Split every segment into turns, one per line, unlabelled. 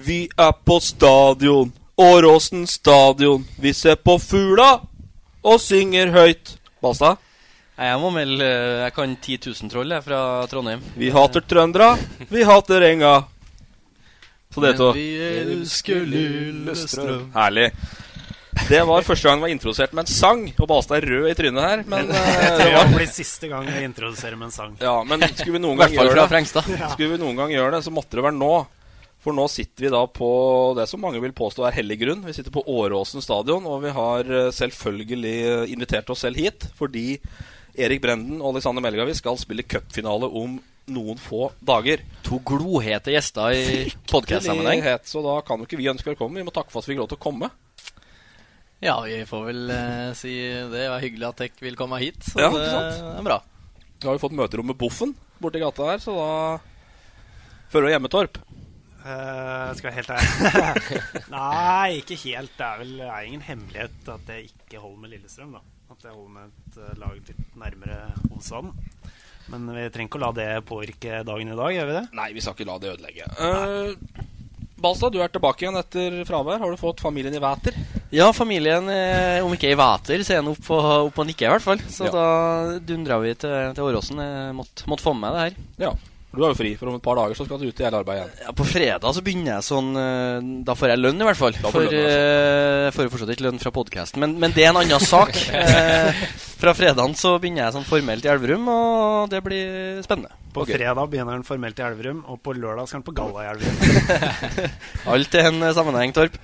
Vi er på stadion, Åråsen stadion. Vi ser på fugla og synger høyt. Basta.
Jeg må melde eh, Jeg kan 10 000 troll jeg, fra Trondheim.
Vi hater trøndere, vi hater enga. Så det, to.
Vi elsker Lillestrøm.
Herlig. Det var første gang det var introdusert med en sang, og Balstad er rød i trynet her. Men, eh, det var,
blir siste gang jeg introduserer med en sang.
ja, men skulle vi
I
noen gang
hvert fall
gjøre
fra
det,
Frengstad.
Skulle vi noen gang gjøre det, så måtte det være nå. For nå sitter vi da på det som mange vil påstå er hellig grunn. Vi sitter på Åråsen stadion, og vi har eh, selvfølgelig eh, invitert oss selv hit fordi Erik Brenden og Alexander Melgavi skal spille cupfinale om noen få dager.
To glohete gjester i podkast-sammenheng.
Tidlighet, Så da kan jo ikke vi ønske velkommen. Vi må takke for at vi fikk lov til å komme.
Ja, vi får vel eh, si det. Det var hyggelig at dere vil komme hit. Så
Ja,
det
ikke
er bra.
Vi har jo fått møterom med Boffen borti gata her, så da Fører og Hjemmetorp.
Eh, skal jeg være helt ærlig Nei, ikke helt. Det er vel det er ingen hemmelighet at jeg ikke holder med Lillestrøm. da At jeg holder med et eh, lag litt nærmere hovedstaden. Men vi trenger ikke å la det påvirke dagen i dag, gjør vi det?
Nei, vi skal ikke la det ødelegge. Uh, Balstad, du er tilbake igjen etter fravær. Har du fått familien i væter?
Ja, familien, eh, om ikke i væter, så er den oppe opp og nikker i hvert fall. Så
Ja.
da dundra vi til, til Åråsen. Jeg Måtte, måtte få med meg det her.
Ja. Du har jo fri, for om et par dager så skal du ut i hele arbeidet igjen.
Ja, på fredag så begynner jeg sånn eh, Da får jeg lønn, i hvert fall.
Da får
For
du lønn, i hvert
eh, jeg får jo fortsatt ikke lønn fra podkasten, men, men det er en annen sak. Eh, fra fredagen så begynner jeg sånn formelt i Elverum, og det blir spennende.
På
Ok.
fredag begynner den formelt i Elverum, og på lørdag skal den på galla i Elverum.
Alt i en eh, sammenheng, Torp.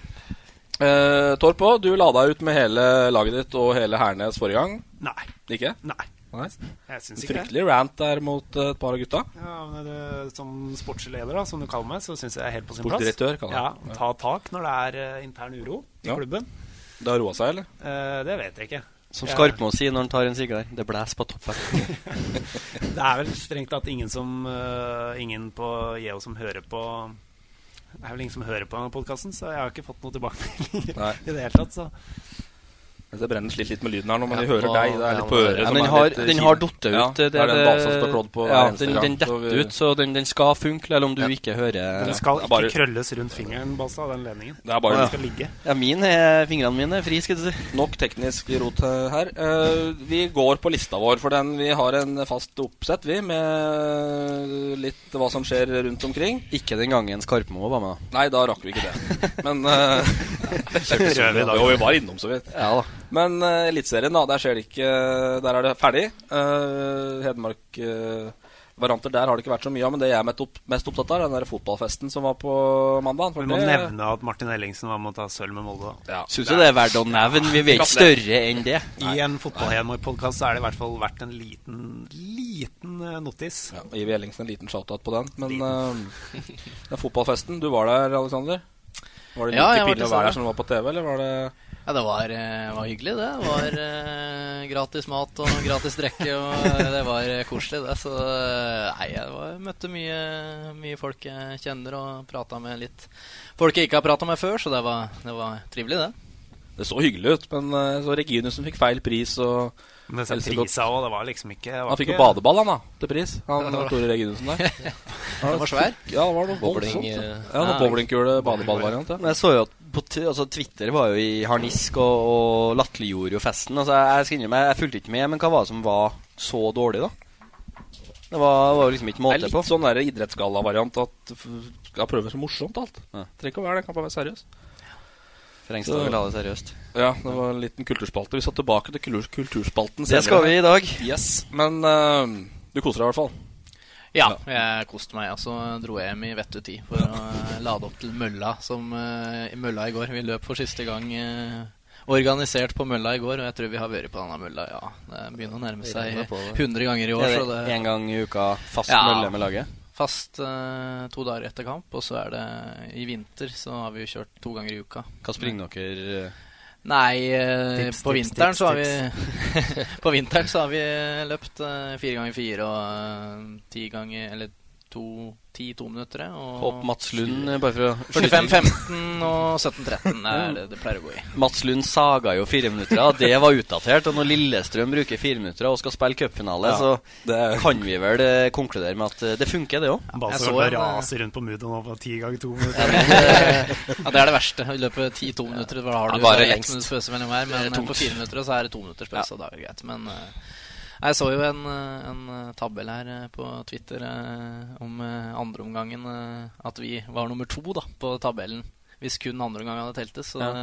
Eh, Torp òg, du la deg ut med hele laget ditt og hele Hernes forrige gang.
Nei.
Ikke?
Nei.
Nei.
Jeg syns ikke det.
Fryktelig rant der mot eh, et par av gutta.
Ja, men det, Som sportslig leder, da, som du kaller meg, så syns jeg det er helt på sin plass.
Sportsdirektør, kan
Ja,
jeg.
Ta tak når det er eh, intern uro i
Ja.
klubben.
Det har roa seg, eller?
Eh, det vet jeg ikke.
Som
Ja.
Skarpmo sier når han tar en sigar. Det blæs på toppen.
Det er vel strengt tatt ingen som eh, Ingen på Yeo som hører på Det er vel ingen som hører på denne podkasten, så jeg har ikke fått noe tilbakemelding
Nei.
i det hele tatt. Så
Det brenner slitt litt med lyden her nå, men
Ja,
vi hører
og-
deg. Det er litt på øret.
Ja,
som
men den
er
har,
litt, eh,
den har
kino.
datt ut.
Ja, det er den Balstad som står klådd på
ja,
hver eneste
den,
gang,
den
så
detter
vi-
ut, så den, den skal funke, selv om du ikke hører
den skal
det er
ikke
bare-
krølles rundt fingeren, Balstad, den ledningen.
Det er bare
Den skal ligge.
ja, min er, Fingrene mine er fri, skal du si.
nok teknisk rot eh, her. Eh, vi går på lista vår, for den vi har en fast oppsett, vi, med litt hva som skjer rundt omkring.
Ikke den gangen Skarpmo var med, da.
Nei, da rakk vi ikke det. Men eh,
Røver vi i dag.
Jo, vi var innom så vidt.
Ja da.
Men eh, Eliteserien, da. Der skjer det ikke Der er det ferdig. Eh, Hedmark eh, Varianter der har det ikke vært så mye av, men det jeg er mest opp- mest opptatt av, er den der fotballfesten som var på mandag.
Vi må nevne at Martin Ellingsen var med å ta sølv med Molde. da.
ja.
Syns jo det er verdt å nevne. Vi er ikke større enn det.
I en fotballhjemmer-podkast er det i hvert fall verdt en liten, liten eh, notis.
Ja, og Ivi Ellingsen en liten shout-out på den. Men eh, den fotballfesten, du var der, Aleksander? Var det
Ja,
like
jeg var
pinlig
til
å
stede.
være der som det var på TV, eller var det
Ja, det var, eh, var hyggelig, det. Det var eh, gratis mat og gratis drikke, og eh, det var eh, koselig, det. Så eh, nei, jeg var, møtte mye, mye folk jeg kjenner, og prata med litt folk jeg ikke har prata med før, så det var, det var trivelig, det.
Det så hyggelig ut, men eh, så Reginussen fikk feil pris. og
Men disse
Else
prisa òg, det var liksom ikke det var
Han fikk jo
ikke-
badeball, han da, til pris. Han
Ja, det var-
Tore Reginussen der.
Den var svær.
Ja, det var noe
Bowling,
voldsomt.
eh,
Ja, noe bowlingkule badeballvariant. Ja.
Men jeg så jo at på t altså, Twitter var jo i harnisk og, og latterliggjorde jo festen. Altså, jeg, jeg skal innrømme, jeg fulgte ikke med, men hva var det som var så dårlig, da? Det var, var jo liksom ikke
Det
måte
er
på.
litt sånn der idrettsgallavariant at f- skal prøve så morsomt alt. Trenger ikke å være det, kan bare være seriøs.
Trengs det å ta det seriøst.
Ja, det var en liten kulturspalte. Vi skal tilbake til kultur kulturspalten
Det skal vi i dag.
Yes, Men eh, du koser deg i hvert fall.
Ja, jeg koste meg. Og så dro jeg hjem i vettu tid for å eh, lade opp til mølla, som eh, i mølla i går. Vi løp for siste gang eh, organisert på mølla i går, og jeg tror vi har vært på denne mølla, ja. Det begynner å nærme seg 100 ganger i år.
Er
så
det
det-
én gang i uka fast
Ja.
mølle med laget?
Fast eh, to dager etter kamp, og så er det i vinter så har vi jo kjørt to ganger i uka.
Hva springer dere eh,
Nei, eh,
Tips,
på
tips,
vinteren
tips,
så har vi På vinteren så har vi løpt eh, fire ganger fire og eh, ti ganger Eller to ti tominuttere.
opp
Og
Mats Lund, eh, bare for å
25-15 og 17-13 er det det pleier å gå i.
Mats Lund saga jo fireminuttere. Det var utdatert. Og når Lillestrøm bruker fireminuttere og skal spille cupfinale,
Ja,
så
det-
kan vi vel eh, konkludere med at eh, det funker, det òg.
Bare
Jeg
så
så
det
en, eh,
raser rundt på Mudo nå på ti ganger to
Ja,
minutter.
men, eh, ja, det er det verste. I løpet av ti-to minutter da har
Ja, varer
du bare ett
lengst.
minutts pause mellom hver. Men eh, på fire minutter så er det to minutters pause, og da er det greit. Men eh, jeg så jo en, eh, en eh, tabell her eh, på Twitter eh, om eh, andreomgangen eh, at vi var nummer to da, på tabellen. Hvis kun andreomgang hadde teltes. Så
Ja.
det,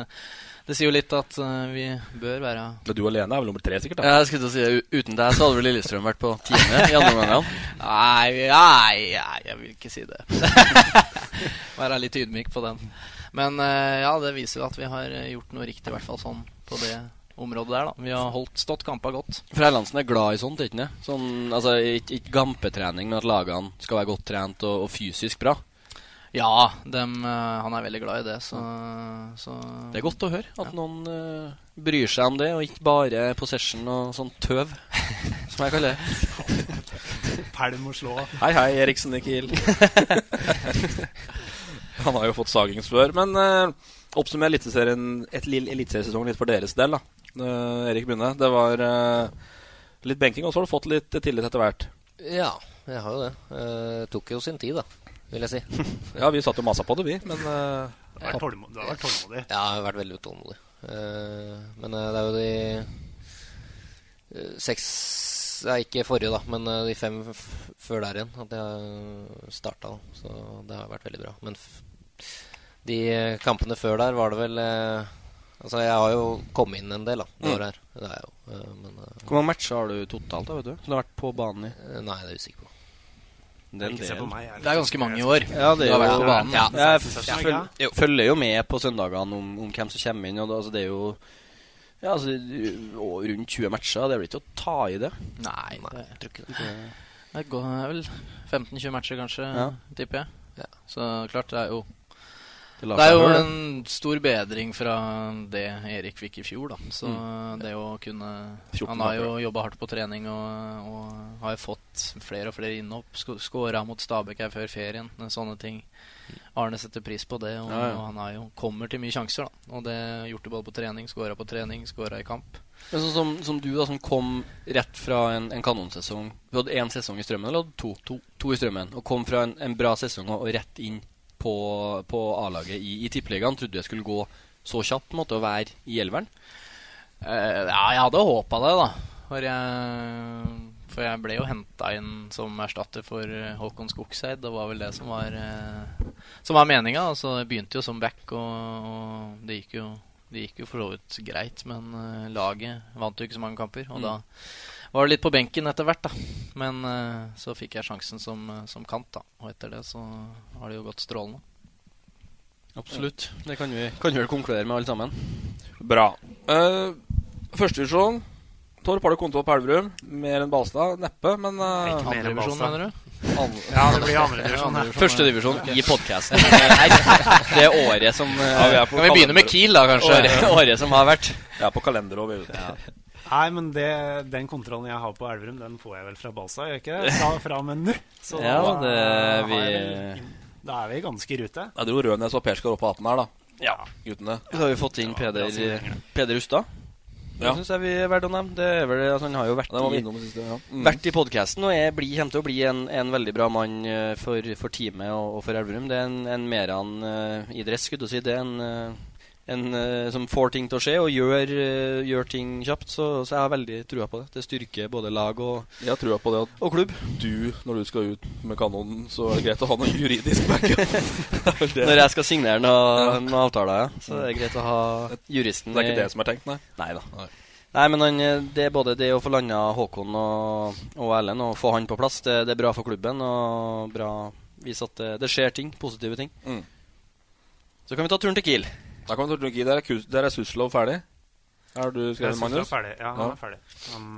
det sier jo litt at eh, vi bør være
Men du alene er vel nummer tre, sikkert? da
Jeg skulle til å si u- Uten deg så hadde vel Lillestrøm vært på tiende i andre omgang.
Nei, nei, nei, jeg vil ikke si det. Være litt ydmyk på den. Men eh, ja, det viser jo at vi har eh, gjort noe riktig, i hvert fall sånn på det området der, da. Vi har holdt stått kampa godt.
For Erlandsen er glad i sånt, ikke sant? Sånn, altså, ikke, ikke gampetrening, men at lagene skal være godt trent og, og fysisk bra.
Ja, dem, eh, han er veldig glad i det, så, så
Det er godt å høre at noen eh, bryr seg om det, og ikke bare possession og sånn tøv, som jeg kaller det.
Pælm og slå.
Hei, hei, Eriksen i Kiel. Han har jo fått sagingens før. Men uh, oppsummer eliteserien- et lille eliteseriesesong litt for deres del, da. Eh, Erik begynner. Det var eh, litt benking, og så har du fått litt tillit etter hvert.
Ja, jeg har jo det. Eh, tok jo sin tid, da, vil jeg si.
Ja, vi satt jo og masa på det, vi. Men eh,
Du har vært tålmo- du har vært tålmodig.
Ja, jeg har vært veldig utålmodig. Eh, men eh, det er jo de eh, seks ja, Ikke forrige, da, men eh, de fem f før der igjen at jeg starta. Da. Så det har vært veldig bra. Men f de eh, kampene før der var det vel eh, Altså, jeg har jo kommet inn en del, da. Det,
Mm.
året her. det er jeg jo. eh, men eh,
Hvor mange matcher har du totalt, da, vet du? Som du har vært på banen i?
nei, det er jeg usikker på.
Den
Ikke se på meg. jeg
Det er ganske mange i år.
Ja, det
Du
er
har vært
jo
på banen.
Ja, jeg f-
Session,
føl
ikke?
jo, følger jo med på søndagene om, om hvem som kommer inn. Og det, altså, det er jo ja, altså, og rundt 20 matcher. Det blir ikke å ta i det.
Nei, det, jeg tror ikke det. Det går det er vel 15-20 matcher, kanskje,
Ja.
tipper jeg.
Ja.
Så klart, det er jo
Det, lar
Det er
seg
jo
høre, det.
en stor bedring fra det Erik fikk i fjor, da. Så
Mm.
det å kunne
14
Han har jo jobba hardt på trening og, og har jo fått flere og flere innhopp. Skåra mot Stabæk her før ferien, sånne ting. Arne setter pris på det, og,
Ja, ja.
og han har jo, kommer til mye sjanser, da. Og det har gjort det både på trening, skåra på trening, skåra i kamp.
Men sånn som, som du, da, som kom rett fra en, en kanonsesong Du hadde én sesong i Strømmen, eller hadde du to? to? To i Strømmen. Og kom fra en, en bra sesong og, og rett inn på, på A-laget i, i Tippeligaen. Trodde du det skulle gå så kjapt på en måte, å være i elveren?
Eh, ja, jeg hadde håpa det, da. For jeg, for jeg ble jo henta inn som erstatter for eh, Håkon Skogseid. Det var vel det som var, eh, som var meninga. Altså, jeg begynte jo som back, og, og det gikk jo det gikk jo for så vidt greit, men eh, laget vant jo ikke så mange kamper.
Mm.
Og da var det litt på benken etter hvert, da. Men eh, så fikk jeg sjansen som, eh, som kant, da. Og etter det så har det jo gått strålende.
Absolutt. Det kan vi, kan vi vel konkludere med, alle sammen.
bra. Uh, Førstedivisjon. Torp har du konto på Elverum. Mer enn Balstad? Neppe, men eh,
Ikke mer enn
Andrevisjon,
Balstad.
mener du?
Ja, det blir andredivisjon.
Andre divisjon,
Førstedivisjon i podkasten. Det er året som eh,
vi er på
Kan vi begynne med
kalender-
Kiel, da, kanskje?
året, året som har vært.
Jeg er på kalender òg, vi. vet du.
Nei, men det, den kontrollen jeg har på Elverum, den får jeg vel fra Balsa, gjør jeg ikke det? Fra, fra og med nå. Så
Ja,
da
det-
har jeg
vi-
vel- Da er vi ganske i rute.
Jeg dro Rødnes og Perskar opp på 18 her, da. Ja, guttene.
Så har vi fått inn Peder,
si det.
Peder Ustad. Det
Ja.
synes jeg vi er verdt å nevne. Det er vel, altså, han har jo vært
Ja, det var vi
i,
innom det siste, ja. Mm.
vært i podkasten og er, bli, kommer til å bli en, en veldig bra mann eh, for, for teamet og, og for Elverum. Det er en, en meran eh, i dress, skulle du si. Det er en, eh, en eh, som får ting til å skje og gjør, eh, gjør ting kjapt. Så, så jeg har veldig trua på det. Det styrker både lag og
Jeg har trua på det at du, når du skal ut med kanonen, så er det greit å ha noe juridisk backup. Det er vel det.
Når jeg skal signere noe,
Ja.
noen avtaler, ja. Så det er greit å ha juristen
Det er ikke
i-
det som er tenkt, nei?
Nei da. Nei, men han, eh, det er både det å få landa Håkon og, og Erlend og få han på plass. Det, det er bra for klubben og bra vise at det, det skjer ting. Positive ting.
Mm.
Så kan vi ta turen til Kiel.
Da kan vi ta turen til Kiel. Der er, Kus- der er Suslov ferdig. Er du skrevet, Magnus?
Han ferdig. Ja, han er ferdig. Han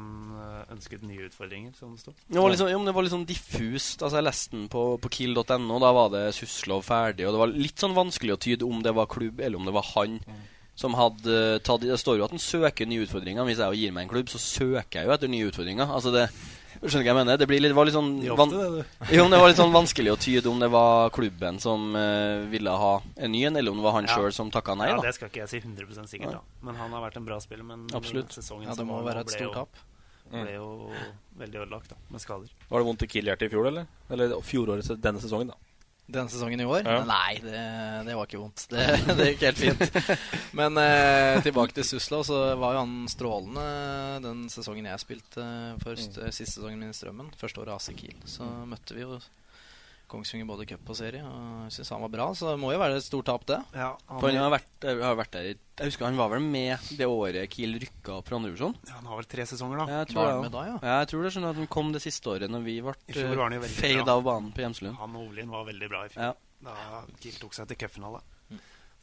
øh, ønsket nye utfordringer, som det sto.
Det var liksom, jo, men det var litt sånn diffust. Altså, jeg leste den på, på kill.no. Da var det Suslov ferdig. Og det var litt sånn vanskelig å tyde om det var klubb, eller om det var han
Mm.
som hadde eh, tatt Det står jo at han søker nye utfordringer. Hvis jeg jo gir meg en klubb, så søker jeg jo etter nye utfordringer. Altså det Skjønner du hva jeg mener? Det blir litt, var litt sånn
Det er ofte
van-
det,
Jo, men det var litt sånn vanskelig å tyde om det var klubben som eh, ville ha en ny en, eller om det var han
Ja.
selv sjøl som takka nei,
Ja,
da.
det skal ikke jeg si 100 sikkert,
Nei.
da. Men han har vært en bra spiller. Men
Absolutt.
sesongen
Ja, det
som
må
var nå
være et
ble
stort
jo-
tap. Mm.
Ble jo veldig ødelagt, da, med skader.
Var det vondt i Kiel-hjertet i fjor, eller? Eller fjorårets denne sesongen, da.
Denne sesongen i år?
Ja.
Nei, det, det var ikke vondt. Det, det gikk helt fint. Men eh, tilbake til Suslov, så var jo han strålende eh, den sesongen jeg spilte først, eh, siste sesongen min i Strømmen. Første året AC Kiel. Så møtte vi jo Kongsvinger både i cup og serie, og jeg syns han var bra. Så det må jo være et stort tap, det.
Ja,
For han har vært, eh, har vært der i Jeg husker han var vel med det året Kiel rykka opp fra andre divisjon?
Ja, han har vel tre sesonger, da.
Jeg tror,
Var
det, ja.
han med da, ja?
jeg tror det er sånn at den kom det siste året når vi ble
I fjor var han jo veldig
fade
bra.
av banen på Hjemselund.
Han og Olin var veldig bra i fjor. Da Kiel tok seg til cupfinale.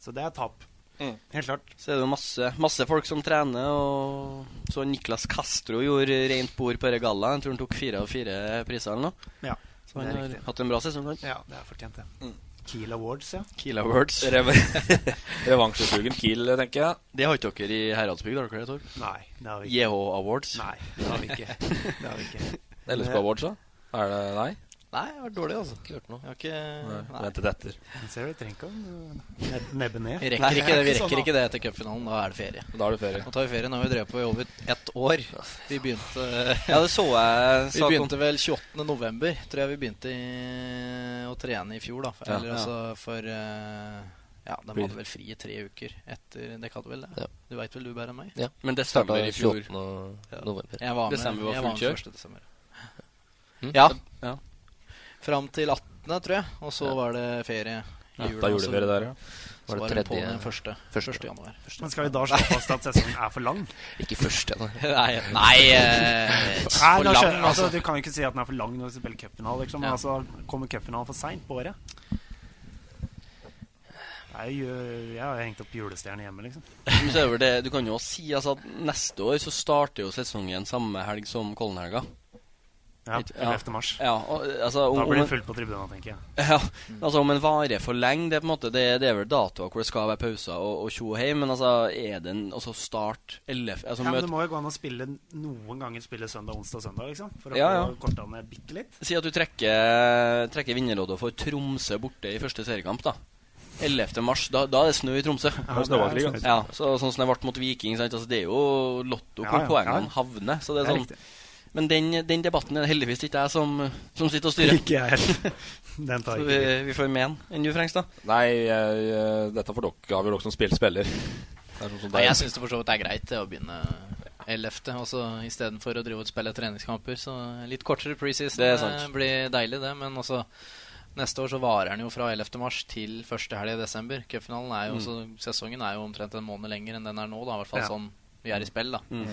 Så det er tap. Helt klart.
Så er det jo masse, masse folk som trener, og så Niklas Castro gjorde rent bord på Regalla. Jeg tror han tok fire av fire priser eller noe.
Ja,
så han
det er
har
riktig.
hatt en bra sesong. Han.
Ja, det er fortjent, det. Kiel Awards, ja.
Kiel Awards.
Rev- Revansjesugen Kiel, tenker jeg.
Det har ikke dere i Heradsbygd, har dere det, Tor?
Nei, det har vi
ikke. JH Awards?
Nei, det har vi ikke. Det har vi ikke.
LSK Awards, da? Er det Nei?
Nei, jeg har vært dårlig, altså. Ikke hørt noe. Jeg har ikke,
Nei. Ventet etter.
Men Ser du, trenger ikke å neb- nebbe ned.
Vi rekker, ikke det, vi rekker
sånn,
ikke
da.
det etter cupfinalen. Da er det ferie.
Da er det ferie.
Nå tar vi ferie. Nå har vi drevet på i over ett år. Vi begynte
Ja, det så jeg-
Vi
sa kom-
begynte vel 28. november, tror jeg vi begynte i, å trene i fjor, da. For,
Ja.
eller
Ja.
altså for eh, Ja, de hadde vel fri i tre uker etter Dere hadde vel det? Du veit vel du bedre enn meg?
Ja.
Men det starta
Startet
i fjor.
28. og
Ja.
november.
Jeg var med,
Desember var
jeg
fullt
var
kjør.
med 1. desember.
Mm.
Ja.
Ja.
Fram til 18., tror jeg. Og så var det ferie. i
Ja,
julen,
da
og
gjorde
så-
dere det, ja.
Så var det på den første. første januar.
Men skal vi da slå fast at sesongen er for lang?
Ikke første, da.
Nei, nei, eh, for
da
lang,
skjønner- altså.
altså.
Du kan jo ikke si at den er for lang når du spiller cupfinale. Liksom. Men
Ja.
Altså, kommer cupfinalen for seint på året? Jeg, jeg har hengt opp julestjerne hjemme, liksom.
Men så er det vel det, du kan jo også si altså, at neste år så starter jo sesongen samme helg som Kollenhelga.
Ja,
Ikke-
11. mars.
Ja, og, altså, om,
da blir
om-
det fullt på tribunene, tenker jeg.
Ja, altså Om en varer for lenge, det er på en måte Det, det er vel datoer hvor det skal være pauser og og tjo og hei, men altså er det en altså start 11 altså,
ja, men
møt,
det må jo gå an å spille noen ganger spille søndag, onsdag og søndag, liksom. For å
Ja, ja.
få korta ned bitte litt.
Si at du trekker, trekker vinnerloddet for Tromsø borte i første seriekamp, da. 11. mars, da, da er det snø i Tromsø.
Ja, det er snøvalgkrig, altså.
ja, så, Sånn som det ble mot Viking. Sant? Altså, det er jo lotto hvor
Ja, ja,
poengene
ja.
havner. Så det er
Det er
sånn Men den, den debatten er det heldigvis ikke jeg som, som sitter og styrer.
Ikke jeg heller. Den tar
så
ikke
vi,
vi.
vi får men enn du, Frengstad.
Nei, jeg, eh, dette får dere avgjøre, dere som spiller spiller. Det er sånn som
Nei,
deg.
jeg syns det for så vidt er greit det, å begynne 11. Og så istedenfor å drive og spille treningskamper. Så litt kortere preseason
Det er sant.
eh, blir deilig, det. Men også neste år så varer den jo fra 11. mars til første helg i desember. Cupfinalen er
Mm.
jo også- Sesongen er jo omtrent en måned lenger enn den er nå, da. I hvert fall
Ja.
sånn vi er i spill, da.
Mm.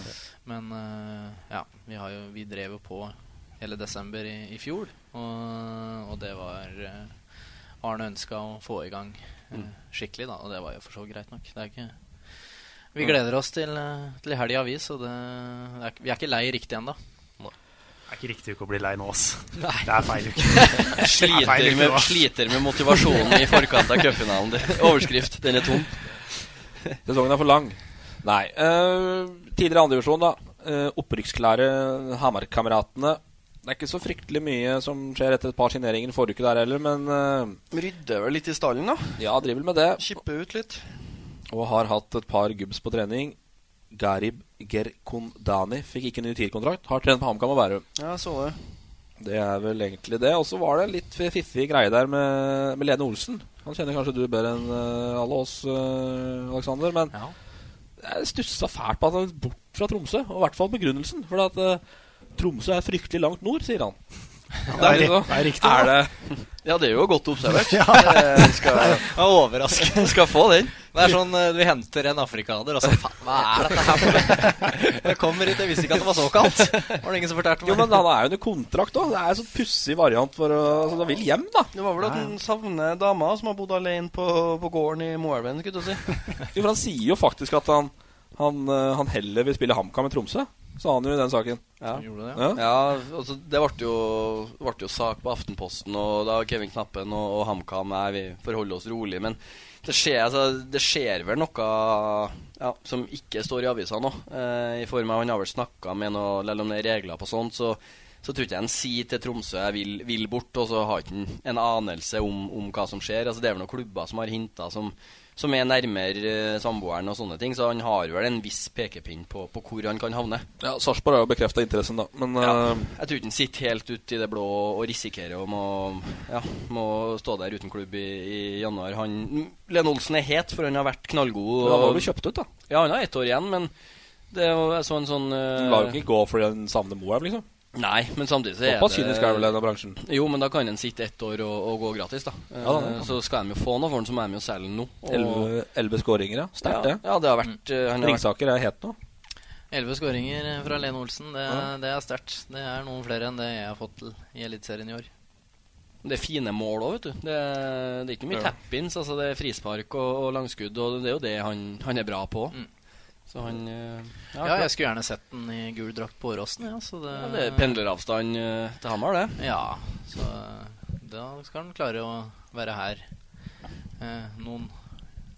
Men eh, ja, vi, har jo, vi drev jo på hele desember i, i fjor, og, og det var eh, Arne ønska å få i gang eh,
Mm.
skikkelig, da, og det var jo for så vidt greit nok. Det er ikke Vi
Mm.
gleder oss til, eh, til helga, vi, så det det er, ikke- vi er ikke lei riktig ennå.
Det er ikke riktig uke å bli lei nå, ass.
Nei.
Det er feil uke. Det er feil
Sliter
uke
med,
nå, ass.
sliter med motivasjonen i forkant av cupfinalen. Det- Overskrift. Den er tom.
Sesongen er for lang. Nei. eh, tidligere andredivisjon, da. Uh, Opprykksklare Hamar-kameratene. Det er ikke så fryktelig mye som skjer etter et par signeringer forrige uke der heller, men eh,
Rydder vel litt i stallen, da.
ja, driver vel med det.
Kipper ut litt.
Og har hatt et par gubbs på trening. Garib Gerkondani fikk ikke ny tierkontrakt. Har trent på HamKam og Bærum.
Ja, så det.
Det er vel egentlig det. Og så var det en litt fiffig greie der med, med Lene Olsen. Han kjenner kanskje du bedre enn eh, alle oss, eh, Alexander. Men jeg stussa fælt på at han er bort fra Tromsø. Og i hvert fall begrunnelsen. For at eh, Tromsø er fryktelig langt nord, sier han.
Ja, det er
liksom-
ri- det er riktig, da.
det-
Ja, det er jo godt observert.
Ja.
Det skal-
Det er overraskende. Skal få den. Det er sånn eh, du henter en afrikaner, og så faen, hva er dette her for noe? Jeg kommer hit, jeg visste ikke at det var så kaldt. Var det ingen som fortalte meg?
Jo, men han er jo under kontrakt òg. Det er en sånn pussig variant for å altså, Han vil hjem, da.
Det var vel at han savner dama som har bodd alene på, på gården i Moelven, skulle jeg til å si.
Jo, for han sier jo faktisk at han, han, eh, han heller vil spille HamKam i Tromsø. Sa han jo i den saken.
Ja,
det,
ja. altså, det ble jo, ble jo sak på Aftenposten, og da Kevin Knappen og, og HamKam Nei, vi får holde oss rolig, men det skjer, altså, det skjer vel noe ja, som ikke står i avisa nå. Eh, I form av Han har vel snakka med noe, selv om det er regler på sånt, så, så tror ikke jeg han sier til Tromsø jeg vil, vil bort, og så har ikke han en anelse om, om hva som skjer. Altså, det er vel noen klubber som har hinta som som er nærmere eh, samboeren og sånne ting, så han har vel en viss pekepinn på, på hvor han kan havne.
Ja, Sarpsborg har jo bekrefta interessen, da. Men
Ja,
eh,
jeg tror ikke han sitter helt ute i det blå og risikerer å må, ja, må stå der uten klubb i, i januar. Han, Lene Olsen er het, for han har vært knallgod.
Men
og-
han var jo kjøpt ut, da.
Ja, han har ett år igjen, men det er jo jeg så en sånn
han lar jo ikke gå fordi han savner Moelv, liksom.
Nei, men samtidig så er
Såpass kynisk er vel denne bransjen.
Jo, men da kan en sitte ett år og, og gå gratis, da. Eh,
Ja, da, det kan.
så skal de jo få noe for den, så må de jo selge den nå. og-
Elleve- Elleve skåringer, ja. Sterkt,
ja,
det.
ja, det har vært eh, han har vært-
Ringsaker er het nå.
Elleve skåringer eh, fra Lene Olsen, det,
Ja.
det er sterkt. Det er noen flere enn det jeg har fått til i Eliteserien i år.
Det er fine mål òg, vet du. Det er, det er ikke mye
Ja.
tap-ins. Altså det er frispark og, og langskudd, og det er jo det han, han er bra på. Så han eh,
Mm. Ja, jeg skulle gjerne sett den i gul drakt på Åråsen. Ja, så det,
ja, Det er pendleravstand eh, til Hamar, det.
Ja, så da skal han klare å være her eh, noen,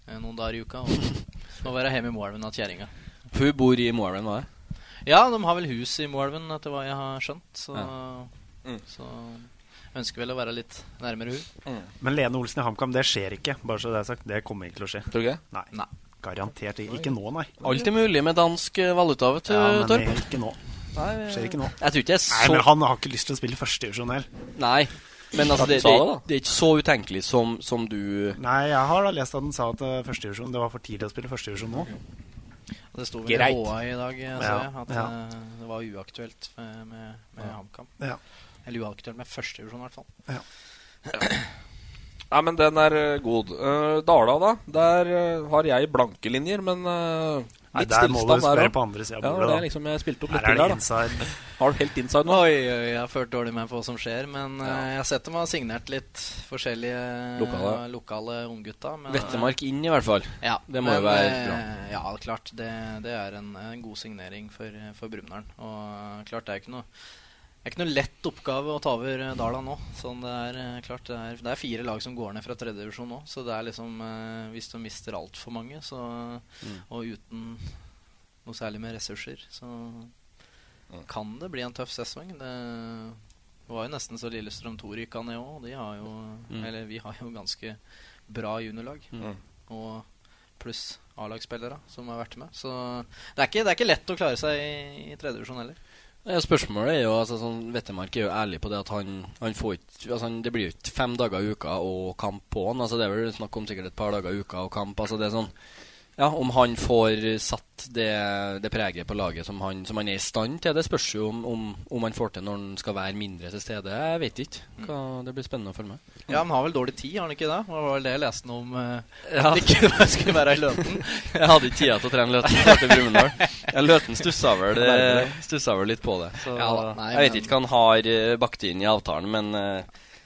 eh, noen dager i uka. Og, og være hjemme i Moelven av kjerringa.
For hun bor i Moelven, hva er det?
Ja, de har vel hus i Moelven, etter hva jeg har skjønt. Så, så ønsker vel å være litt nærmere hun.
Men Lene Olsen i HamKam, det skjer ikke. Bare så det er sagt. Det kommer ikke til å skje.
Tror du ikke?
Nei. Garantert ikke. Ikke nå, nei.
Alt er mulig med dansk eh, valuta, vet du,
Ja, men
Torp.
det er ikke nå.
Nei,
Skjer ikke nå.
Jeg tror ikke det er så
Nei, men Han har ikke lyst til å spille førstedivisjon heller.
Nei, men altså, det,
Sa
det,
det, da.
det er ikke så utenkelig som, som du
Nei, jeg har da lest at han sa at eh, førstedivisjon Det var for tidlig å spille førstedivisjon nå.
Det sto vel i
Greit.
HA i dag, eh, så
Ja,
jeg, at
ja.
eh, det var uaktuelt med, med, med HamKam.
Ja.
Eller uaktuelt med førstevisjon, i hvert fall.
Nei, men den er eh, god. Eh, Dala, da. Der eh, har jeg blanke linjer, men eh,
Nei,
litt
der må du
stillstand
spørre
også.
på andre siden av
Ja,
bordet,
det
da.
er liksom jeg spilte opp
Her
litt
er det
til der,
inside.
da. Har du helt inside nå?
Oi, oi, jeg har ført dårlig med på hva som skjer, men eh, jeg har sett dem har signert litt forskjellige
Lokale.
lokale unggutta. men-
Vettemark inn, i hvert fall.
Ja,
Det må jo være bra.
eh, Ja, klart. Det, det er en, en god signering for, for Brumunddal. Og eh, klart det er ikke noe det er ikke noe lett oppgave å ta over eh, Dala nå. Sånn det, er, eh, klart det, er, det er fire lag som går ned fra tredje divisjon nå. Så det er liksom eh, Hvis du mister altfor mange, så,
Mm.
og uten noe særlig med ressurser, så
Mm.
kan det bli en tøff sesong. Det var jo nesten så Lillestrøm 2 rykka ned òg. De har jo
Mm.
Eller vi har jo ganske bra juniorlag.
Mm.
Og pluss A-lagsspillere som har vært med. Så det er ikke, det er ikke lett å klare seg i, i tredje divisjon heller.
Ja, spørsmålet er jo altså, sånn, Vettemark er jo ærlig på det at han, han får ikke altså, han, Det blir jo ikke fem dager i uka og kamp på han. Altså, det er vel snakk om sikkert et par dager i uka og kamp. Altså, det er sånn ja, Om han får satt det, det preget på laget som han, som han er i stand til, det spørs jo om, om, om han får til når han skal være mindre til stede. Jeg vet ikke. Hva, det blir spennende å følge med.
Ja, Han har vel dårlig tid, har han ikke det? Det var vel det jeg leste noe om eh,
Ja.
at det ikke skulle være i Løten.
Jeg hadde ikke tida til å trene Løten. før til Brumunddal. Ja, Løten stussa vel,
Merkelig.
stussa vel litt på det. Så
Ja da, nei,
jeg vet
men-
ikke hva han har eh, bakt inn i avtalen, men eh,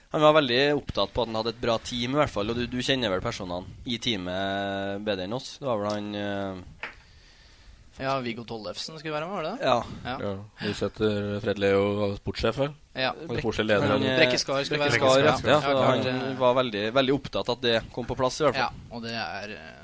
han var veldig opptatt på at han hadde et bra team, i hvert fall. Og du, du kjenner vel personene i teamet eh, bedre enn oss? Det var vel han eh,
Ja, Viggo Tollefsen skulle være med, var det det?
Ja.
ja.
Du setter Fred Leo sportssjef, vel?
Ja.
Eller sportsleder, eller?
Han, eh,
Brekke Skar skulle være
Brekke
med.
Skar,
Ja,
ja. Så
klart, eh.
han var veldig, veldig opptatt av at det kom på plass, i hvert
Ja,
fall.
og det er eh,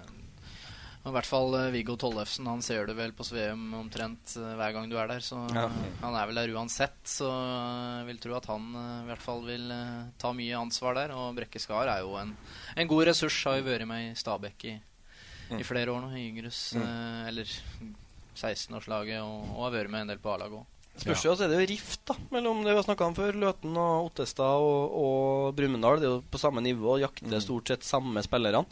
I hvert fall eh, Viggo Tollefsen. Han ser du vel på Sveum omtrent eh, hver gang du er der. Så
Ja.
han er vel der uansett. Så jeg vil tro at han eh, i hvert fall vil eh, ta mye ansvar der. Og Brekke Skar er jo en, en god ressurs. Har jo vært med i Stabæk i i flere år nå. I Yngres,
Mm.
eh, eller 16-årslaget, og, og har vært med en del på A-laget òg.
Spørs jo, så er det jo rift da mellom det vi har snakka om før, Løten og Ottestad og, og Brumunddal. Det er jo på samme nivå,
Mm.
jakter stort sett samme spillerne.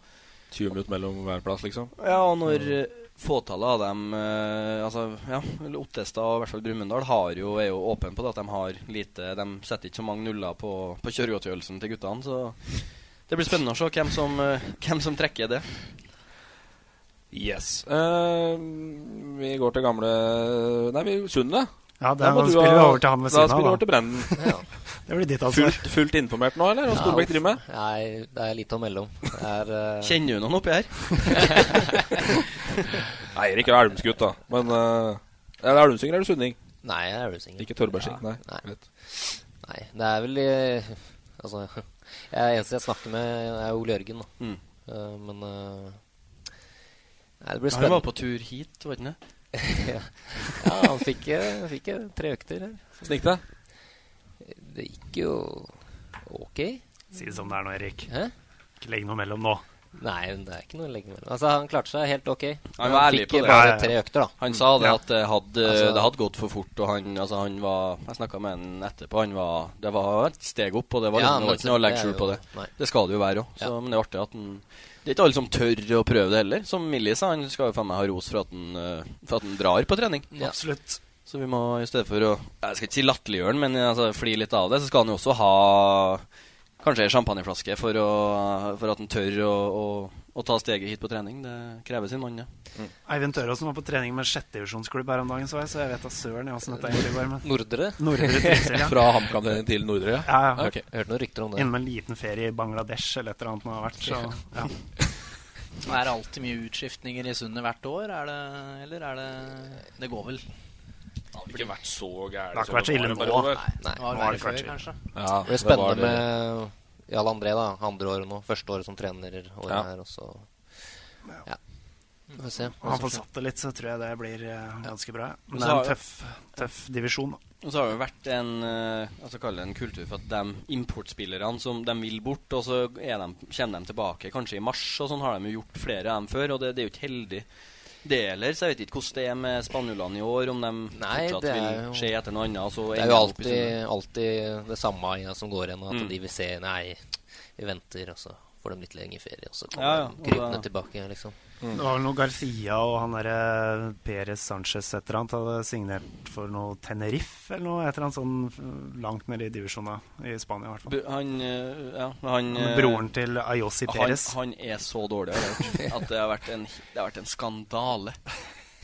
20 minutter mellom hver plass, liksom.
Ja, og når eh, fåtallet av dem eh, Altså, ja, eller Ottestad og i hvert fall Brumunddal har jo- er jo åpen på det at de har lite De setter ikke så mange nuller på, på kjøregodtgjørelsen til guttene, så det blir spennende å se hvem som, eh, hvem som trekker det.
Yes. Eh, vi går til gamle Nei, vi Sundet.
Ja, det-
Der må
da
du ha-
spiller vi over til han ved siden av,
Da spiller vi
da.
over til Brenden.
Ja. Det blir ditt ansvar.
Fullt, fullt informert nå, eller? Hva Solbekk driver med?
Nei, det er lite å melde om. Det Er, eh,
Kjenner du noen oppi her?
Nei, Erik er elvumsgutt, da. Men eh, Er det elvumsinger eller sunning?
Nei, jeg er elvumsinger.
Ikke tørrbærsing, nei.
Nei. Nei, det er vel eh, Altså, jeg, eneste jeg snakker med, er Ole Jørgen, da.
Mm.
Eh, men eh, Nei, det blir
Han
spennende.
var på tur hit, var han ikke
det? ja, han fikk, eh, fikk eh, tre økter her.
Hvordan gikk det?
Det gikk jo ok.
Si det som det er nå, Erik.
Hæ?
Ikke legg noe mellom nå.
Nei, men det er ikke noe å legge mellom. Altså, han klarte seg helt ok. Men
Han var
han
ærlig
fikk
på
eh,
det.
bare tre økter, da.
Han sa det
Ja.
at det hadde,
Altså-
det hadde gått for fort, og han, altså, han var Jeg snakka med han etterpå. Han var, det var et steg opp, og det var
Ja,
liksom, det
men
var ikke noe å
det
legge
er
skjul på
jo-
det.
nei.
Det skal det jo være òg.
Ja.
Men det er artig at han Det er ikke alle som tør å prøve det heller. Som Millie sa, han skal jo faen meg ha ros for at han, eh, for at han drar på trening.
Ja.
Absolutt.
Så vi må i stedet for å Jeg skal ikke si latterliggjøre han, men altså, fli litt av det. Så skal han jo også ha kanskje ei champagneflaske for, å, for at han tør å, å, å ta steget hit på trening. Det krever sin mann, det.
Eivind Tøråsen var på trening med en sjettedivisjonsklubb her om dagen, så jeg, så jeg vet da søren jeg åssen dette egentlig går. Men...
Nordre?
Nordre Trysil, ja.
Fra HamKam til Nordre, ja?
Ja, ja.
Ok. Hørte noen rykter om det.
Inne med en liten ferie i Bangladesh eller et eller annet han har vært, så ja.
Men Er det alltid mye utskiftninger i Sundet hvert år, er det, eller er det Det går vel? Det
har ikke vært så
gærent
gærent.
Det har ikke som vært så det var ille en nå. periode. Nei.
Det var
Nå har
verre
det ikke
før,
vært så
kanskje.
det blir spennende med Jarl André, da. Andre året nå. Første året som trener året
Ja.
her, og så Ja. Vi får se. hva
Han
som
får
skjer.
satt det litt, så tror jeg det blir eh, ganske bra.
Og
Men
så
det er
har-
en tøff, tøff divisjon. da.
Og så har det jo vært en eh, altså kall det en kultur for at de importspillerne som de vil bort, og så er de, kommer de tilbake kanskje i mars, og sånn har de jo gjort flere av dem før, og det, det er jo ikke heldig. Det heller, så jeg vet ikke hvordan det er med spanjolene i år, om de fortsatt
det er
vil
jo-
se etter noe annet. altså, Og så
Det
ender
er
de
jo
opp i
alltid,
Sundet.
alltid det samme ja, som går igjen. At
Mm.
de vil se Nei, vi venter, og så får de litt lenger ferie, og så kommer
Ja, ja, og
de krypende
da-
tilbake, liksom.
Det var vel noe Garcia og han derre Perez Sanchez et eller annet hadde signert for noe Tenerife eller noe, et eller annet sånn eh, langt nede i divisjona i Spania i hvert fall.
Bu- Han, eh, ja, han eh,
Broren til Ayosi
han-
Perez.
Han er så dårlig har jeg hørt, at det har vært en, det har vært en skandale.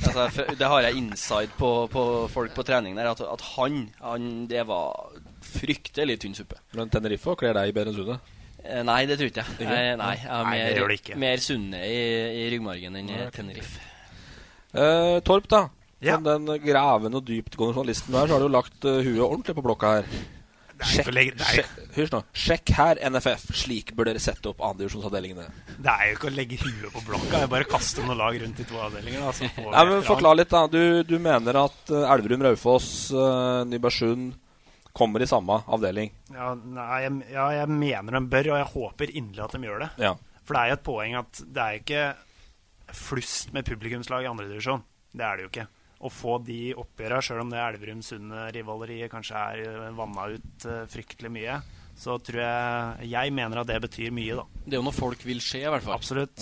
Altså, jeg fø- det har jeg inside på, på folk på trening der, at, at han, han Det var fryktelig tynn suppe.
Men Tenerife kler deg bedre enn Sundet?
Eh, Nei, det tror ikke jeg.
Ikke?
Eh, Nei, jeg har
Nei, det
mer,
gjør det ikke.
mer sunne i, i ryggmargen enn i Tenerife.
Eh, Torp, da.
Ja.
Som den gravende og dyptgående journalisten du er, så har du jo lagt eh, huet ordentlig på blokka her. Sjekk, sjekk- hysj nå. Sjekk her, NFF. Slik bør dere sette opp andredivisjonsavdelingene.
Det er jo ikke å legge huet på blokka, jeg bare kaster noen lag rundt i to avdelinger. Da, så får vi
Nei,
et eller
men
annet.
Forklar litt, da. Du, du mener at eh, Elverum, Raufoss, eh, Nybergsund kommer i samme avdeling.
Ja, nei, jeg, ja, jeg mener de bør, og jeg håper inderlig at de gjør det.
Ja.
For det er jo et poeng at det er jo ikke flust med publikumslag i andredivisjon. Det er det jo ikke. Å få de oppgjøra, sjøl om det Elverum-Sundet-rivaleriet kanskje er vanna ut eh, fryktelig mye, så tror jeg Jeg mener at det betyr mye, da.
Det er jo noe folk vil se, i hvert fall.
Absolutt.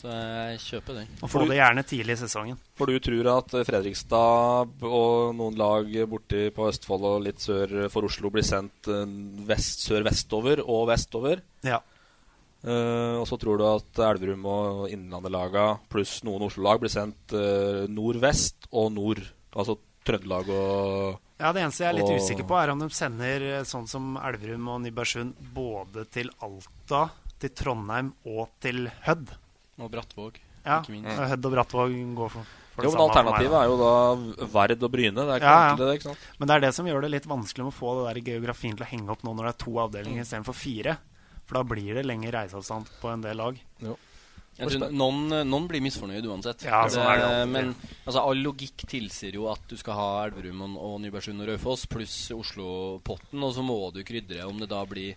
Så jeg kjøper den.
Og få det gjerne tidlig i sesongen.
For du tror at Fredrikstad b- og noen lag borti på Østfold og litt sør for Oslo blir sendt eh, vest, sør-vestover og vestover?
Ja.
Eh, og så tror du at Elverum og Innlandelaga pluss noen Oslo-lag blir sendt eh, nordvest og nord? Altså Trøndelag og
Ja, Det eneste jeg er litt
og-
usikker på, er om de sender eh, sånn som Elverum og Nybergsund både til Alta, til Trondheim og til Hødd.
Og Brattvåg,
Ja,
ikke minst.
og Hødd og Brattvåg går for, for
Jo, men
samme for meg,
alternativet
da.
er jo da Verd og Bryne. Det er ikke
Ja, ja.
enkelt, det, ikke sant?
Men det er det som gjør det litt vanskelig med å få det der geografien til å henge opp nå når det er to avdelinger istedenfor fire. For da blir det lengre reiseavstand på en del lag.
Jeg tror noen, noen blir misfornøyd uansett.
Ja, sånn er det
Eh,
alltid.
Men altså, all logikk tilsier jo at du skal ha Elverum og, og Nybergsund og Raufoss pluss Oslo-potten, og så må du krydre om det da blir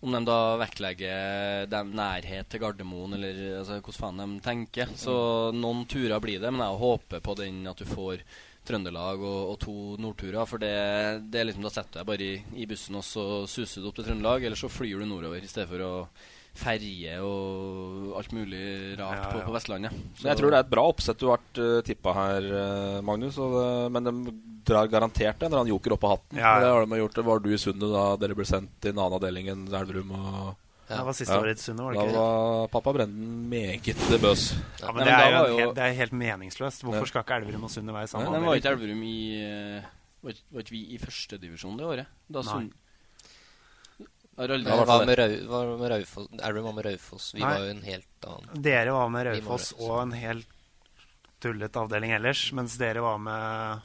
Om de da vektlegger dem nærhet til Gardermoen, eller altså, hvordan faen de tenker. Så noen turer blir det, men jeg håper på den at du får Trøndelag og, og to nordturer. For det, det er liksom, da setter du deg bare i, i bussen, og så suser du opp til Trøndelag, eller så flyr du nordover i stedet for å ferje og alt mulig rart På, på Vestlandet. Så-
Men jeg tror det er et bra oppsett du har uh, tippa her, eh, Magnus. Og, det- men de drar garantert en eller annen joker opp av hatten.
Ja, ja.
Det har de gjort, Var du i Sundet da dere ble sendt i en annen avdeling enn Elverum? Og,
Ja. Det var siste året i Sundet, var det ikke det?
Da var pappa Brenden meget bøs.
Ja,
Nei,
men det er,
da
jo
var
en helt, det er helt meningsløst. Hvorfor skal ikke Elverum og Sundet være i samme
Nei, men var ikke
avdeling?
Elverum i eh, Var ikke- var ikke vi i førstedivisjon det året? Da
Nei.
Sund- Har aldri-
Hva var med Rau- hva var med Raufoss? Elverum var med Raufoss. Vi
Nei.
var jo en helt annen
Dere var med
Vi
Raufoss og en helt tullet avdeling ellers, mens dere var med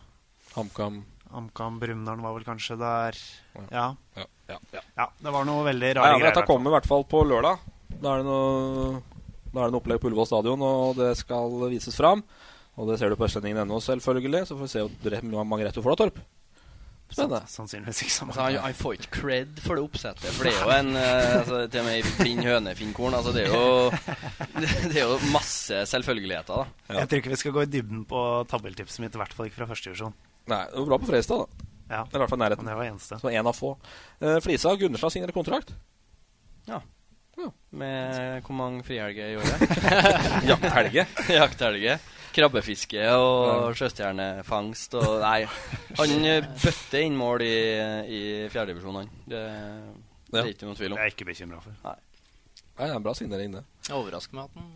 HamKam.
HamKam Brumdalen var vel kanskje der Ja.
Ja, ja, ja.
det var noe veldig
Nei,
rare
ja, men
greier.
Dette kommer i hvert fall på lørdag. Da er det noe, da er det noe opplegg på Ullevål stadion, og det skal vises fram. Og det ser du på østlendingen.no, selvfølgelig. Så får vi se hvor re- hvor mange rett du får da, Torp. Spennende.
Sannsynligvis ikke
Altså, han, han får ikke cred for det oppsettet. For det er jo en eh, altså, Til og med ei blind høne finner korn. Altså, det, er jo, det er jo masse selvfølgeligheter, da.
Jeg tror ikke vi skal gå i dybden på tabelltipset mitt, i hvert fall ikke fra første divisjon.
Nei, det var bra på Freistad, da.
Ja.
Eller i hvert fall nærheten.
Det var eneste.
Så en av få. Eh, Flisa og Gundersen har signert kontrakt.
Med hvor mange frihelger i året?
Jakthelge.
Jakthelge. Krabbefiske og sjøstjernefangst og Nei. Han eh, bøtter inn mål i, i fjerdedivisjon, han. Det, det er ikke noen tvil om.
Jeg er ikke bekymra for.
Nei.
Nei, det er en bra signering, det.
Jeg overrasker meg at han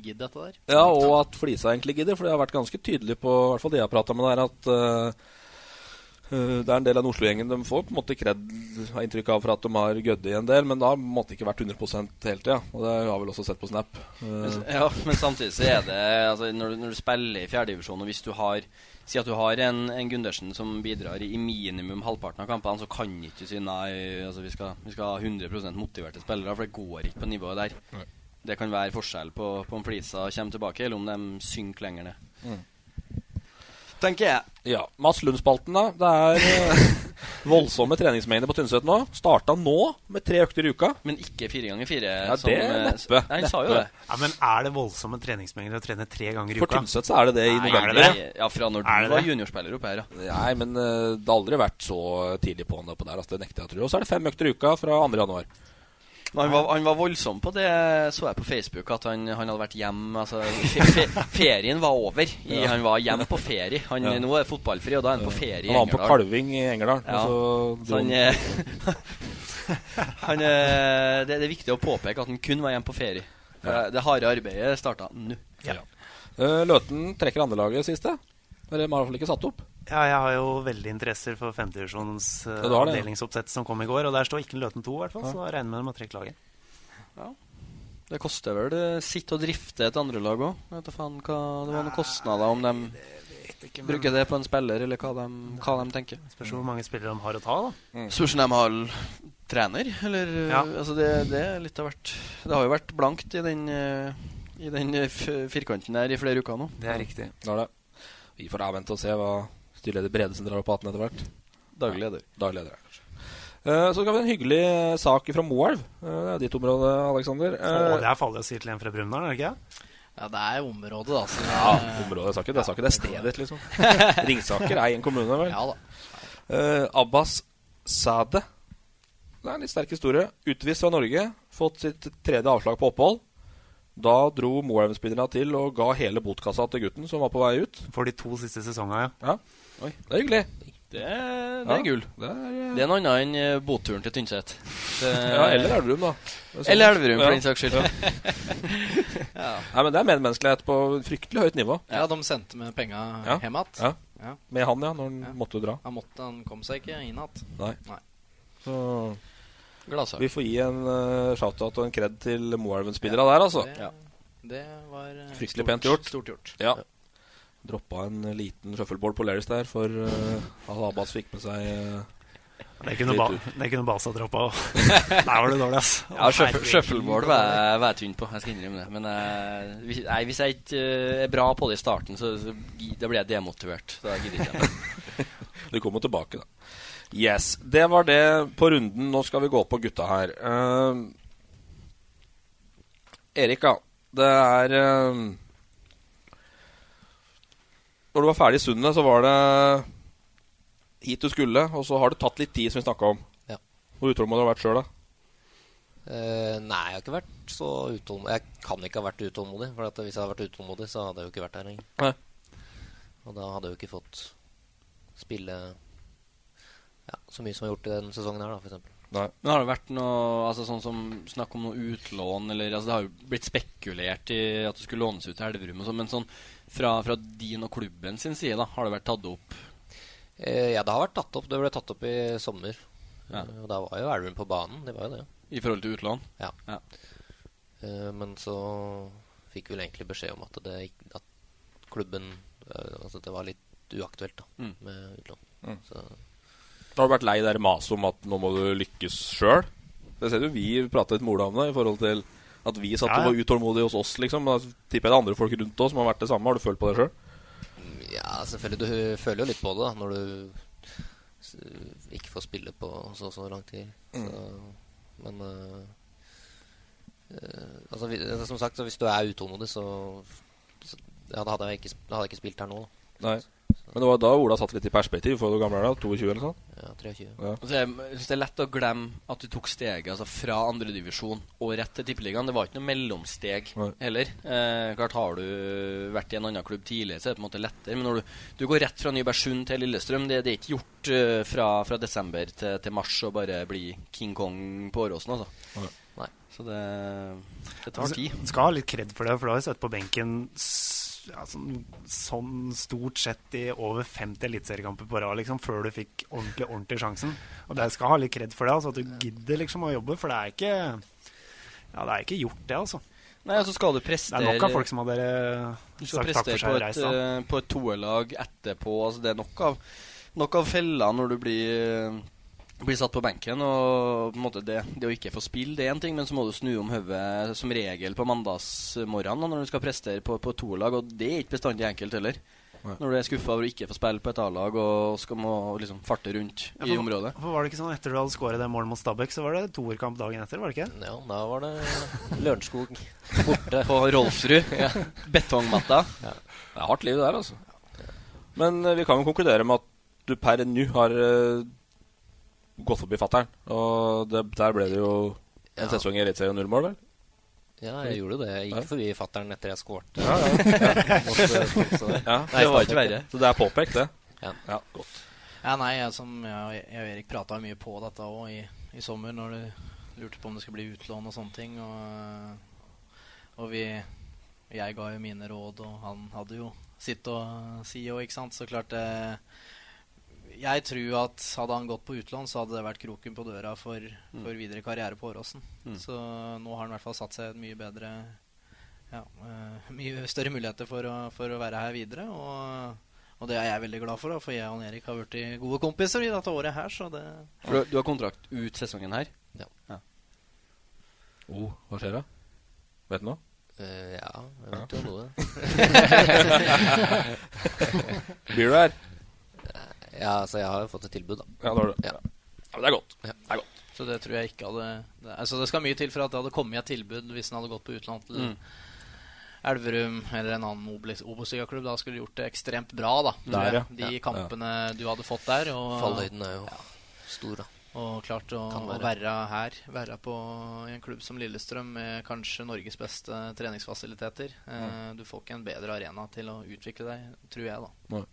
gidder dette der.
Ja, og at Flisa egentlig gidder, for det har vært ganske tydelig på i hvert fall det jeg har prata med der, at eh, eh, det er en del av den Oslo-gjengen de får på en måte kred, har inntrykk av for at de har gødde i en del, men da måtte ikke vært 100 hele tida. Og det har jeg vel også sett på Snap. Eh,
Men- Ja, men samtidig så er det altså, når, du- når du spiller i fjerdedivisjon, og hvis du har Si at du har en, en Gundersen som bidrar i minimum halvparten av kampene, så kan ikke du si nei, altså, vi, skal, vi skal ha 100 motiverte spillere, for det går ikke på nivået der.
Nei.
Det kan være forskjell på, på om Flisa kommer tilbake, eller om de synker lenger ned.
Mm.
Tenker jeg.
Eh, Ja. Mats Lund-spalten, da. Det er eh, voldsomme treningsmengder på Tynset nå. Starta nå med tre økter i uka.
Men ikke fire ganger fire. eh,
Ja, det er neppe.
Nei, han sa jo
Neppe.
det.
Ja, men er det voldsomme treningsmengder å trene tre ganger i
For
uka?
Tynset så er det det i
Nei,
november.
er det det?
Ja, fra når
Er
du
det
var
det?
juniorspiller oppe her, ja.
Nei, men eh, det har aldri vært så tidlig på'n oppå der. Altså, det nekter jeg å tro. Og så er det fem økter i uka fra 2. januar.
Men han, var, han var voldsom på det, så jeg på Facebook, at han, han hadde vært hjemme. Altså, fe, fe, ferien var over. I,
Ja.
Han var hjemme på ferie. Han,
Ja.
Nå er det fotballfri, og da er han på ferie
Han var med på kalving i Engerdal.
Ja.
og
Så han,
dro han-
eh, han eh, det, det er viktig å påpeke at han kun var hjemme på ferie. For
Ja.
Det harde arbeidet starta nå.
Ja. Eh, Løten trekker andrelaget siste. Dere har i hvert fall ikke satt opp.
Ja, jeg har jo veldig interesser for femtedivisjonens uh,
Ja, du har det, ja.
avdelingsoppsett som kom i går. Og der står ikke Løten 2, i hvert fall,
Ja.
så da regner jeg med de har trukket laget.
Det koster vel det sitte og drifte et andrelag òg. Vet da faen hva det var noen kostnader om de
ikke, men-
bruker det på en spiller, eller hva de, hva de tenker.
Spørs hvor mange spillere de har å ta, da.
Spørs om de har trener, eller
Ja.
altså det, det er litt av hvert. Det har jo vært blankt i den, eh, i den eh, f firkanten der i flere uker nå.
Det er riktig.
Det er det. Vi får avvente og se hva styreleder Bredesen drar opp på hatten etter hvert.
Daglig leder.
Daglig leder, ja, kanskje. Eh, så skal vi ha en hyggelig eh, sak fra Moelv. Eh, det er ditt område, Eh, Aleksander.
Å, det er farlig å si til en fra Brumunddal, er det ikke? det?
Ja, det er området, da. Så
Ja, området. Jeg sa ikke det, jeg sa ikke det er stedet, liksom. Ringsaker er en kommune, vel?
Ja da.
Eh, Abbas Sade. Det er en litt sterk historie. Utvist fra Norge. Fått sitt tredje avslag på opphold. Da dro Moelv-spillerne til og ga hele botkassa til gutten som var på vei ut.
For de to siste sesongene, ja.
Ja. Det er hyggelig.
Det er, det
Ja,
er gull.
Det er, eh,
Det er noe annet enn eh, båtturen til Tynset. Det-
Ja, eller Elverum, da. Det er sånn.
Eller Elverum, for
Ja.
den saks skyld.
Ja. Nei, men det er medmenneskelighet på fryktelig høyt nivå.
Ja, de sendte med penga
Ja.
hjem igjen.
Ja.
Ja.
Med han, ja, når han måtte dra.
Han, måtte- han kom seg ikke inn igjen.
Nei.
Nei.
Så
Gladsak.
vi får gi en eh, shout-out og en kred til Moelven-spillerne der, altså.
Det, det var eh,
Fryktelig
stort-
pent gjort.
Stort gjort.
Ja. Droppa en liten shuffleboard på Lerris der, for eh, at Abbas fikk med seg eh,
Det er ikke noe, ba
litt ut.
det er ikke noe base å dra på. Der var du dårlig, ass.
Ja, shuffle- Shuffleboard var jeg- var jeg tynn på, jeg skal innrømme det. Men eh, hvis, nei, hvis jeg ikke eh, er bra på det i starten, så, så gi- da blir jeg demotivert. Da gidder jeg ikke.
Du kommer tilbake, da. Yes. Det var det på runden. Nå skal vi gå på gutta her. Eh, Erik, ja. Det er eh, Når du var ferdig i Sundet, så var det hit du skulle, og så har det tatt litt tid, som vi snakka om.
Ja.
Hvor utålmodig har du vært sjøl, da?
Eh, nei, jeg har ikke vært så utålmodig. Jeg kan ikke ha vært utålmodig. For at hvis jeg hadde vært utålmodig, så hadde jeg jo ikke vært her lenger.
Nei.
Og da hadde jeg jo ikke fått spille ja, så mye som jeg har gjort i denne sesongen her, da, for eksempel.
Men har det vært noe altså sånn som snakk om noe utlån eller altså Det har jo blitt spekulert i at det skulle lånes ut til Elverum og sånn, men sånn fra, fra din og klubben sin side, da, har det vært tatt opp?
Eh, ja, det har vært tatt opp. Det ble tatt opp i sommer.
Ja.
Eh, Og da var jo Elverum på banen. Det var jo det.
I forhold til utlån?
Ja. Eh, men så fikk vi vel egentlig beskjed om at, det, gikk- at klubben eh, Altså det var litt uaktuelt da,
Mm.
med utlån.
Mm.
Så
Da har du vært lei det der maset om at nå må du lykkes sjøl. Det ser du vi prata litt med Ola om det, i forhold til at vi satt
Ja, ja.
og var utålmodige hos oss, liksom. Da tipper jeg det er andre folk rundt oss som har vært det samme. Har du følt på det sjøl?
Ja, selvfølgelig. Du føler jo litt på det da når du s- ikke får spille på så så lang tid. Så,
Mm.
men eh, eh, altså, vi, eh, som sagt, så hvis du er utålmodig, så, så ja, da, hadde jeg ikke, sp- da hadde jeg ikke spilt her nå. Da.
Nei. Men det var da Ola satt litt i perspektiv for hvor gammel er du? 22 eller sånn? noe sånt?
Ja, 23.
Ja.
Altså, jeg synes Det er lett å glemme at du tok steget altså, fra andredivisjon og rett til Tippeligaen. Det var ikke noe mellomsteg heller. Eh, klart Har du vært i en annen klubb tidligere, så er det på en måte lettere. Men når du, du går rett fra Nybergsund til Lillestrøm, det, det er ikke gjort eh, fra, fra desember til, til mars å bare bli King Kong på Åråsen, altså. Så det, det tar tid.
Du skal ha litt kred for det, for du har jo sittet på benken s- ja, sånn, sånn stort sett i over 50 eliteseriekamper på rad liksom, før du fikk ordentlig ordentlig sjansen. Og det skal ha litt kred for det, altså, at du gidder liksom å jobbe, for det er ikke ja, det er ikke gjort, det, altså.
Nei, altså skal du prestere
Det er nok av folk som hadde
Du skal
sagt takk for
prestere eh, på
seg og
et,
reist av.
eh, på et toerlag etterpå. Altså, det er nok av, nok av feller når du blir, eh, blir satt på benken. Og på en måte det, det å ikke få spille, det er én ting, men så må du snu om hodet som regel på mandagsmorgenen da, når du skal prestere på, på et toerlag, og det er ikke bestandig enkelt heller.
Nei.
Når du er skuffa over å ikke få spille på et A-lag og skal må liksom farte rundt
Ja,
i
for-
området.
For Var det ikke sånn etter du hadde skåret det målet mot Stabæk, så var det toerkamp dagen etter, var det ikke?
Ja, da var det Lørenskog borte.
På Rolfsrud. Ja. Betongmatta.
Det er hardt liv, det der, altså. Men eh, vi kan jo konkludere med at du per nå har eh, gått forbi fatter'n. Og det, der ble det jo en sesong i Eliteserien null mål, vel?
Ja, jeg gjorde det. Jeg gikk forbi fattern etter jeg skårte.
Ja, ja. Ja, det var ikke verre. Så det er påpekt, det.
Ja.
godt.
Ja, nei, jeg, som, jeg, og- jeg og Erik prata mye på dette òg i, i sommer, når du lurte på om det skulle bli utlån og sånne ting. Og, og vi Jeg ga jo mine råd, og han hadde jo sitt å si òg, ikke sant. Så klart eh, Jeg tror at hadde han gått på utlån, så hadde det vært kroken på døra for,
Mm.
for videre karriere på Åråsen.
Mm.
Så nå har han i hvert fall satt seg et mye bedre ja, eh, mye større muligheter for å, for å være her videre. Og, og det er jeg veldig glad for, da, for jeg og Erik har blitt gode kompiser i dette året her. Så det
For du, du har kontrakt ut sesongen her?
Ja.
Oh, hva skjer da? Vet du noe?
Eh, ja, jeg vet jo
Ja.
noe.
Blir du her?
Ja, altså jeg har jo fått et tilbud, da.
Ja, det har du. Ja. men det er godt.
Ja.
Det er godt.
Så det tror jeg ikke hadde det, Altså det skal mye til for at det hadde kommet et tilbud hvis den hadde gått på utenland til
Mm.
Elverum eller en annen Obel- Obos-ligaklubb. Da skulle de gjort det ekstremt bra, da. tror
Der,
jeg.
ja.
De
Ja.
kampene du hadde fått der. Og,
Fallhøyden er jo stor, da.
Og klart å
Kan
å
være.
være her, være på i en klubb som Lillestrøm med kanskje Norges beste treningsfasiliteter. Eh, Du får ikke en bedre arena til å utvikle deg, tror jeg, da.
Nei.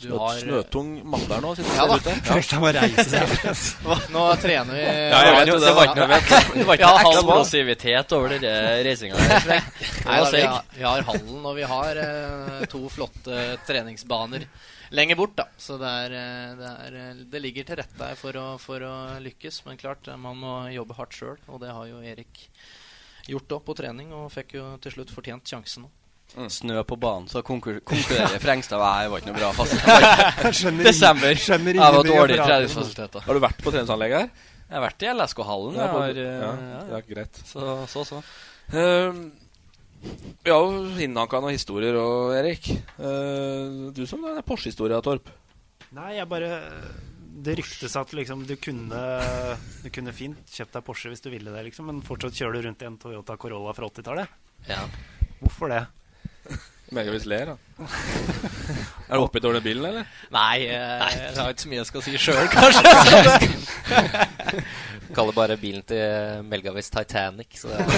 Du
Snø-
har-
Snøtung mann der nå, sitter
Ja
der
da.
ute. Ja.
Først han må reise seg. Hva- nå trener vi-
Ja, jeg vet jo, det var ikke noe Det var ikke
Ja,
noe
halv-
eksplosivitet over den der reisinga der. Frank.
Nei,
Jeg
da, vi,
var seig.
har, vi har hallen, og vi har eh, to flotte treningsbaner lenger bort. da Så det, er, eh, det, er, eh, det ligger til rette her for å, for å lykkes. Men klart, eh, man må jobbe hardt sjøl, og det har jo Erik gjort da på trening. Og fikk jo til slutt fortjent sjansen òg.
Snø på banen, så konkur konkurrerer Frengstad. Nei, det var ikke noe bra. Fast. Jeg
Skjønner
var-
ingen-
Desember.
skjønner
Jeg
ingen
var
med
dårlig i
referatet.
treningsfasiliteter.
Har du vært på treningsanlegget her?
Jeg har vært i LSK-hallen.
Ja,
Jeg
på-
har,
ja,
eh, ja.
det er greit.
Så så. så.
Ehm, vi har Ehm, jo innhanka noen historier og Erik. Eh, du som har den Porsche-historia, Torp.
Nei, jeg bare Det ryktes at liksom, du, kunne, du kunne fint kjøpt deg Porsche hvis du ville det, liksom, men fortsatt kjører du rundt i en Toyota Corolla fra 80-tallet. Hvorfor det?
Megavis ler, da. er du oppe i dårlig bilen, eller?
Nei, eh, jeg har ikke så mye jeg skal si sjøl, kanskje.
Kaller bare bilen til Melgavis Titanic. Så det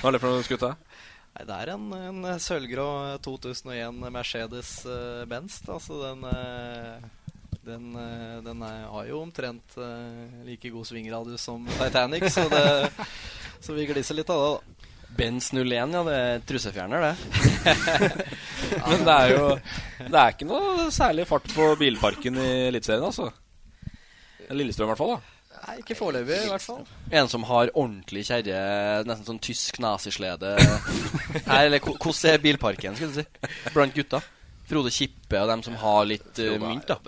Hva er det for noe skutt, da?
Nei, det er en, en sølvgrå 2001 Mercedes-Benz. Altså den, eh, den, eh, den er, har jo omtrent eh, like god svingradius som Titanic, så, det, så vi glisser litt av det. da.
Benz 01, ja. Det er trusefjerner, det.
Men det er jo Det er ikke noe særlig fart på bilparken i Eliteserien, altså. Lillestrøm, i hvert fall. da
Nei, ikke foreløpig, i hvert fall.
En som har ordentlig kjerre, nesten sånn tysk nazislede Her, eller ko- hvordan er bilparken, skulle du si? Blant gutta. Frode Kippe og dem som har litt eh, mynt, da.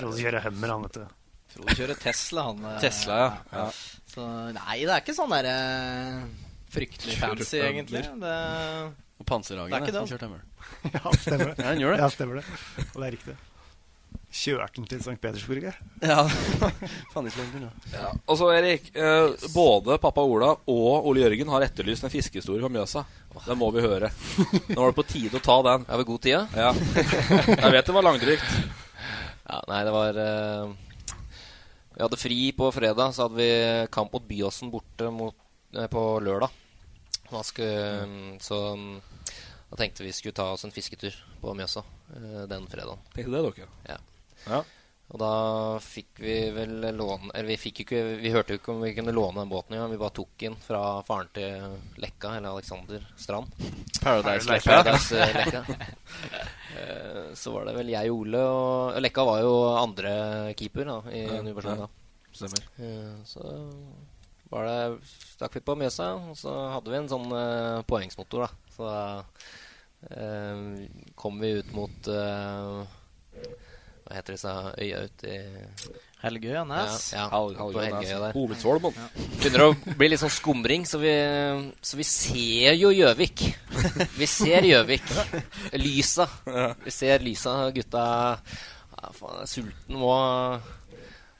Frode kjører Hummer, han, vet du.
Frode kjører Tesla, han. eh,
Tesla, ja. Ja.
Så nei, det er ikke sånn derre fryktelig
Kjører
fancy, egentlig.
Hummer.
Det,
Og Panserhagen
Det er ikke det, altså.
ja, som kjørte Hummer.
Ja, stemmer det.
Ja, han gjør det.
Ja, stemmer det. Og det er riktig. Kjørte han til St. Petersburg, jeg.
Ja. Faen, ikke langt unna.
Ja, altså Erik, eh, både pappa Ola og Ole Jørgen har etterlyst en fiskehistorie fra Mjøsa. Den må vi høre. Nå var det på tide å ta den.
Er vi god tid,
ja? Jeg vet det var langdrygt.
Ja, nei, det var eh, Vi hadde fri på fredag, så hadde vi kamp mot Byåsen borte mot, eh, på lørdag. Da skulle, så mm, da tenkte vi skulle ta oss en fisketur på Mjøsa eh, den fredagen.
Tenkte det, dere.
Ja. Og da fikk vi vel låne Eller vi fikk jo ikke Vi hørte jo ikke om vi kunne låne den båten engang. Vi bare tok den fra faren til Lekka, eller Alexander Strand.
Paradise Lekka.
Paradise Lekka. Eh, Så var det vel jeg, Ole og Lekka var jo andre keeper da, i
Ja,
Nybergsund.
ja.
da.
Stemmer.
Eh, Så var det stakk vi på Mjøsa, og så hadde vi en sånn eh, poengsmotor, da. Så eh, kom vi ut mot eh, Hva heter disse øya ute i
Helgøy og Nes.
Ja, ja,
Hal-
på
Helgøy og
Helgøy
Nes.
der.
Hovedsvolmen.
Ja. Begynner å bli litt sånn skumring, så vi, så vi ser jo Gjøvik. Vi ser Gjøvik. Lysa. Vi ser lysa, gutta ja, faen, jeg er sulten må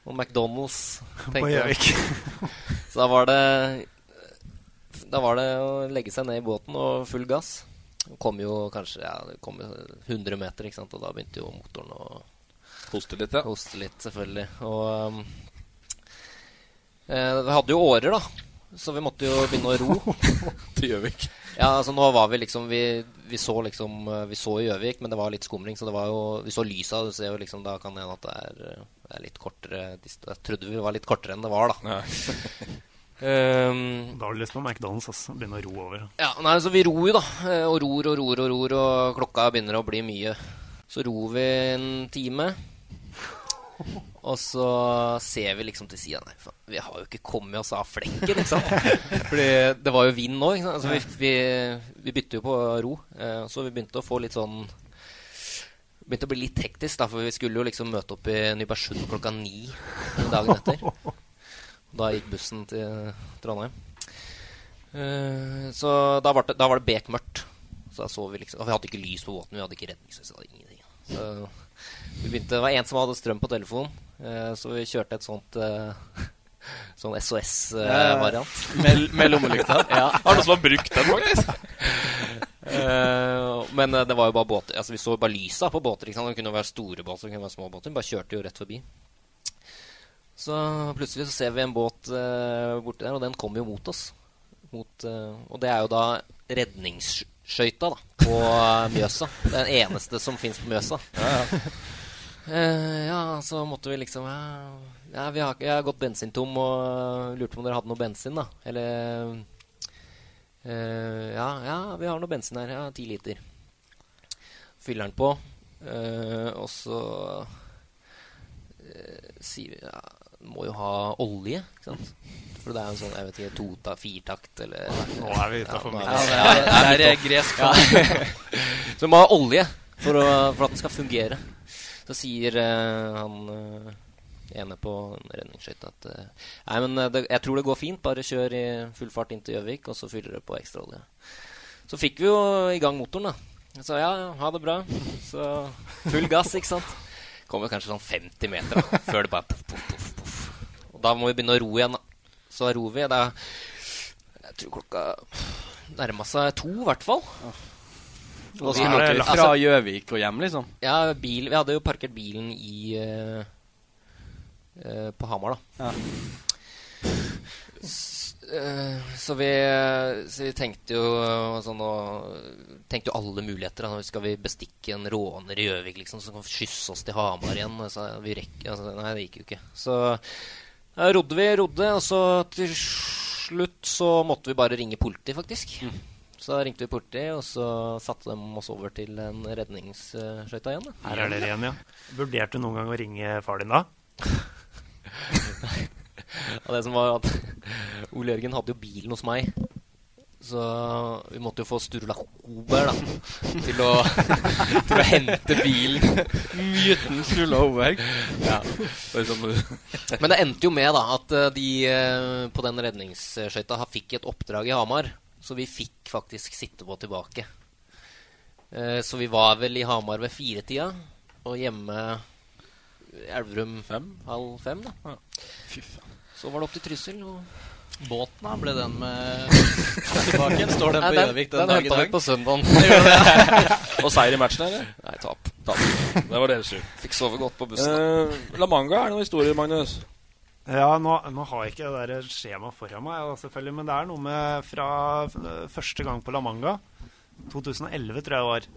må McDonald's. tenkte jeg.
Gjøvik.
Så da var det Da var det å legge seg ned i båten og full gass. Det Kom jo kanskje ja, det kom jo 100 meter, ikke sant? og da begynte jo motoren å
Hoste litt, ja.
Hoste litt, selvfølgelig. Og um, eh, Vi hadde jo årer, da. Så vi måtte jo begynne å ro.
Til Gjøvik.
Ja, altså nå var vi liksom Vi, vi så liksom eh, Vi så Gjøvik, men det var litt skumring, så det var jo Vi så lysa, du ser jo liksom Da kan det hende at det er, eh, det er litt kortere dist- Jeg trodde vi var litt kortere enn det var, da. Um,
da har du lyst på McDonald's, altså. Begynne å ro over.
Ja, nei, så vi ror jo, da. eh, Og ror og ror og ror, og klokka begynner å bli mye. Så ror vi en time. Og så ser vi liksom til sida Nei, faen, vi har jo ikke kommet oss av flekken, liksom. ikke sant? Fordi det var jo vind nå. Ikke sant? Altså, vi, vi, vi bytter jo på ro. eh, Så vi begynte å få litt sånn Begynte å bli litt hektisk, da, for vi skulle jo liksom møte opp i Nybergsund klokka ni dagen etter. Da gikk bussen til Trondheim. Eh, så da var det, da var det bekmørkt. Så da så vi liksom Og vi hadde ikke lys på båten, vi hadde ikke redningsvest, vi hadde ingenting. Så vi begynte, det var en som hadde strøm på telefonen, eh, så vi kjørte et sånt eh, Sånn
Ja, ja,
SOS-variant.
ja. Med- med lommelykta. Har noen som har brukt den, faktisk?
Eh, men eh, det var jo bare båter. Altså, vi så jo bare lysa på båter. Ikke sant? Det kunne være store båter, det kunne være små båter. Vi bare kjørte jo rett forbi. Så plutselig så ser vi en båt eh, borti der, og den kommer jo mot oss. Mot, eh, og det er jo da redningsskøyta da, på eh, Mjøsa. Den eneste som fins på Mjøsa. Eh, ja, så måtte vi liksom ja, ja, vi har, ikke- Jeg har gått bensintom og eh, lurte på om dere hadde noe bensin, da. Eller eh, ja, ja, vi har noe bensin her. Ja, ti liter. Fyller den på, eh, og så eh, sier vi ja, må jo ha olje, ikke sant? For det er jo en sånn jeg vet ikke, tota, firtakt eller
Nå er vi utenfor
nå er
mye.
vi-
Ja, det er-
det
det er gresk.
Ja. Så du må ha olje for, å, for at den skal fungere. Så sier eh, han eh, ene på redningsskøyta at eh, Nei, men eh, det, jeg tror det går fint. Bare kjør i full fart inn til Gjøvik, og så fyller du på ekstraolje. Så fikk vi jo i gang motoren, da. Så ja, ja, ha det bra. Så full gass, ikke sant. Kommer kanskje sånn 50 meter da, før det bare poff, poff, poff, poff. Og da må vi begynne å ro igjen, da. Så da ror vi. Da Jeg tror klokka nærma seg to, i hvert fall.
Og
Altså,
da skulle dere fra Gjøvik og hjem, liksom?
Ja, bil, vi hadde jo parkert bilen i eh, eh, På Hamar, da. S, eh, så, vi, så vi tenkte jo eh, sånn og, Tenkte jo alle muligheter. Da. Nå Skal vi bestikke en råner i Gjøvik liksom, som kan skysse oss til Hamar igjen? Så vi rekker, altså, nei, det gikk jo ikke. Så ja, rodde vi, rodde, og så til slutt så måtte vi bare ringe politiet, faktisk. Så da ringte vi politiet, og så satte de oss over til en redningsskøyta igjen. Da.
Her er dere igjen, ja. Vurderte du noen gang å ringe far din da?
Og det som var at Ole Jørgen hadde jo bilen hos meg. Så vi måtte jo få Sturla Hober da, til å, til å hente bilen.
Myten Sturla Hoberg.
Ja. Men det endte jo med da, at eh, de eh, på den redningsskøyta ha- fikk et oppdrag i Hamar. Så vi fikk faktisk sitte på tilbake. Eh, Så vi var vel i Hamar ved firetida, og hjemme i Elverum halv fem. da. Så var det opp til Trysil. og
Båten, da? Ble den med tilbake? igjen? Står den
Nei,
på
den-
Gjøvik
den
den, dag i
hentet vi
dag?
på søndagen.
Gjør det?
Og seier i matchen, eller?
Nei, tap.
Det var deres tur.
Fikk sove godt på
bussen,
Eh, La Manga er noe historie, Magnus.
Ja, nå, nå har jeg ikke det der skjemaet foran meg, da, selvfølgelig, men det er noe med fra f- første gang på La Manga. 2011, tror jeg det var.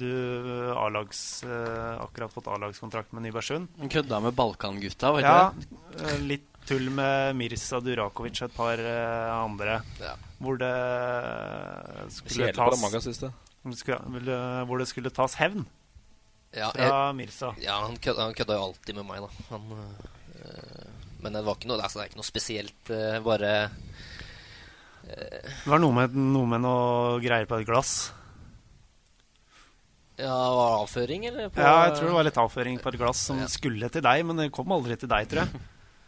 Du eh, A-lags eh, akkurat fått A-lagskontrakt med Nybergsund.
Han kødda med Balkan-gutta, var ikke
Ja,
det?
eh, litt tull med Mirza Durakovic og et par eh, andre. Hvor det eh, skulle
Kjedelig på
tas
La Manga siste.
Hvor det skulle, eh, hvor det skulle tas hevn.
Ja,
fra Mirza.
Ja, han kødda, han kødda jo alltid med meg, da. Han, øh, men det var ikke noe, altså, det er ikke noe spesielt. øh, bare øh,
Det var noe med, noe med noe greier på et glass.
Ja, var det avføring, eller? på-
Ja, jeg tror det var litt avføring på et glass som skulle til deg, men det kom aldri til deg, tror jeg.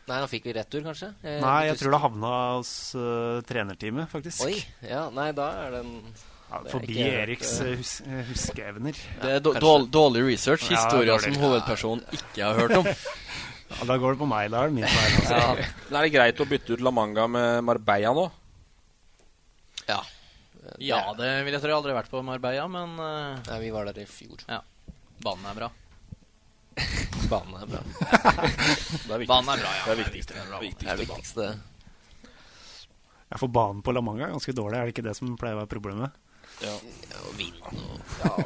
Nei, han fikk vi retur, kanskje? Eh,
Nei, jeg
litt
tror det havna hos uh, trenerteamet, faktisk.
Oi, ja, nei, da er den det er
Forbi
ikke helt,
Eriks
øh,
eh, hus eh, huskeevner.
Det er do- dårl- dårlig research.
Ja,
Historier
dårlig.
som hovedpersonen ikke har hørt om.
Ja, da går det på meg, da. er det Min feil, altså.
Ja. Men Er det greit å bytte ut La Manga med Marbella nå?
Ja.
Ja, det vil jeg tro. Jeg har aldri vært på Marbella, men
Nei, vi var der i fjor.
Ja. Banen er bra.
Banen er bra.
viktigst.
Banen er bra, ja.
Det er viktigst.
Det er bra.
Det er det viktigste.
Ja, for banen på La Manga er ganske dårlig, er det ikke det som pleier å være problemet?
Ja.
Og vind og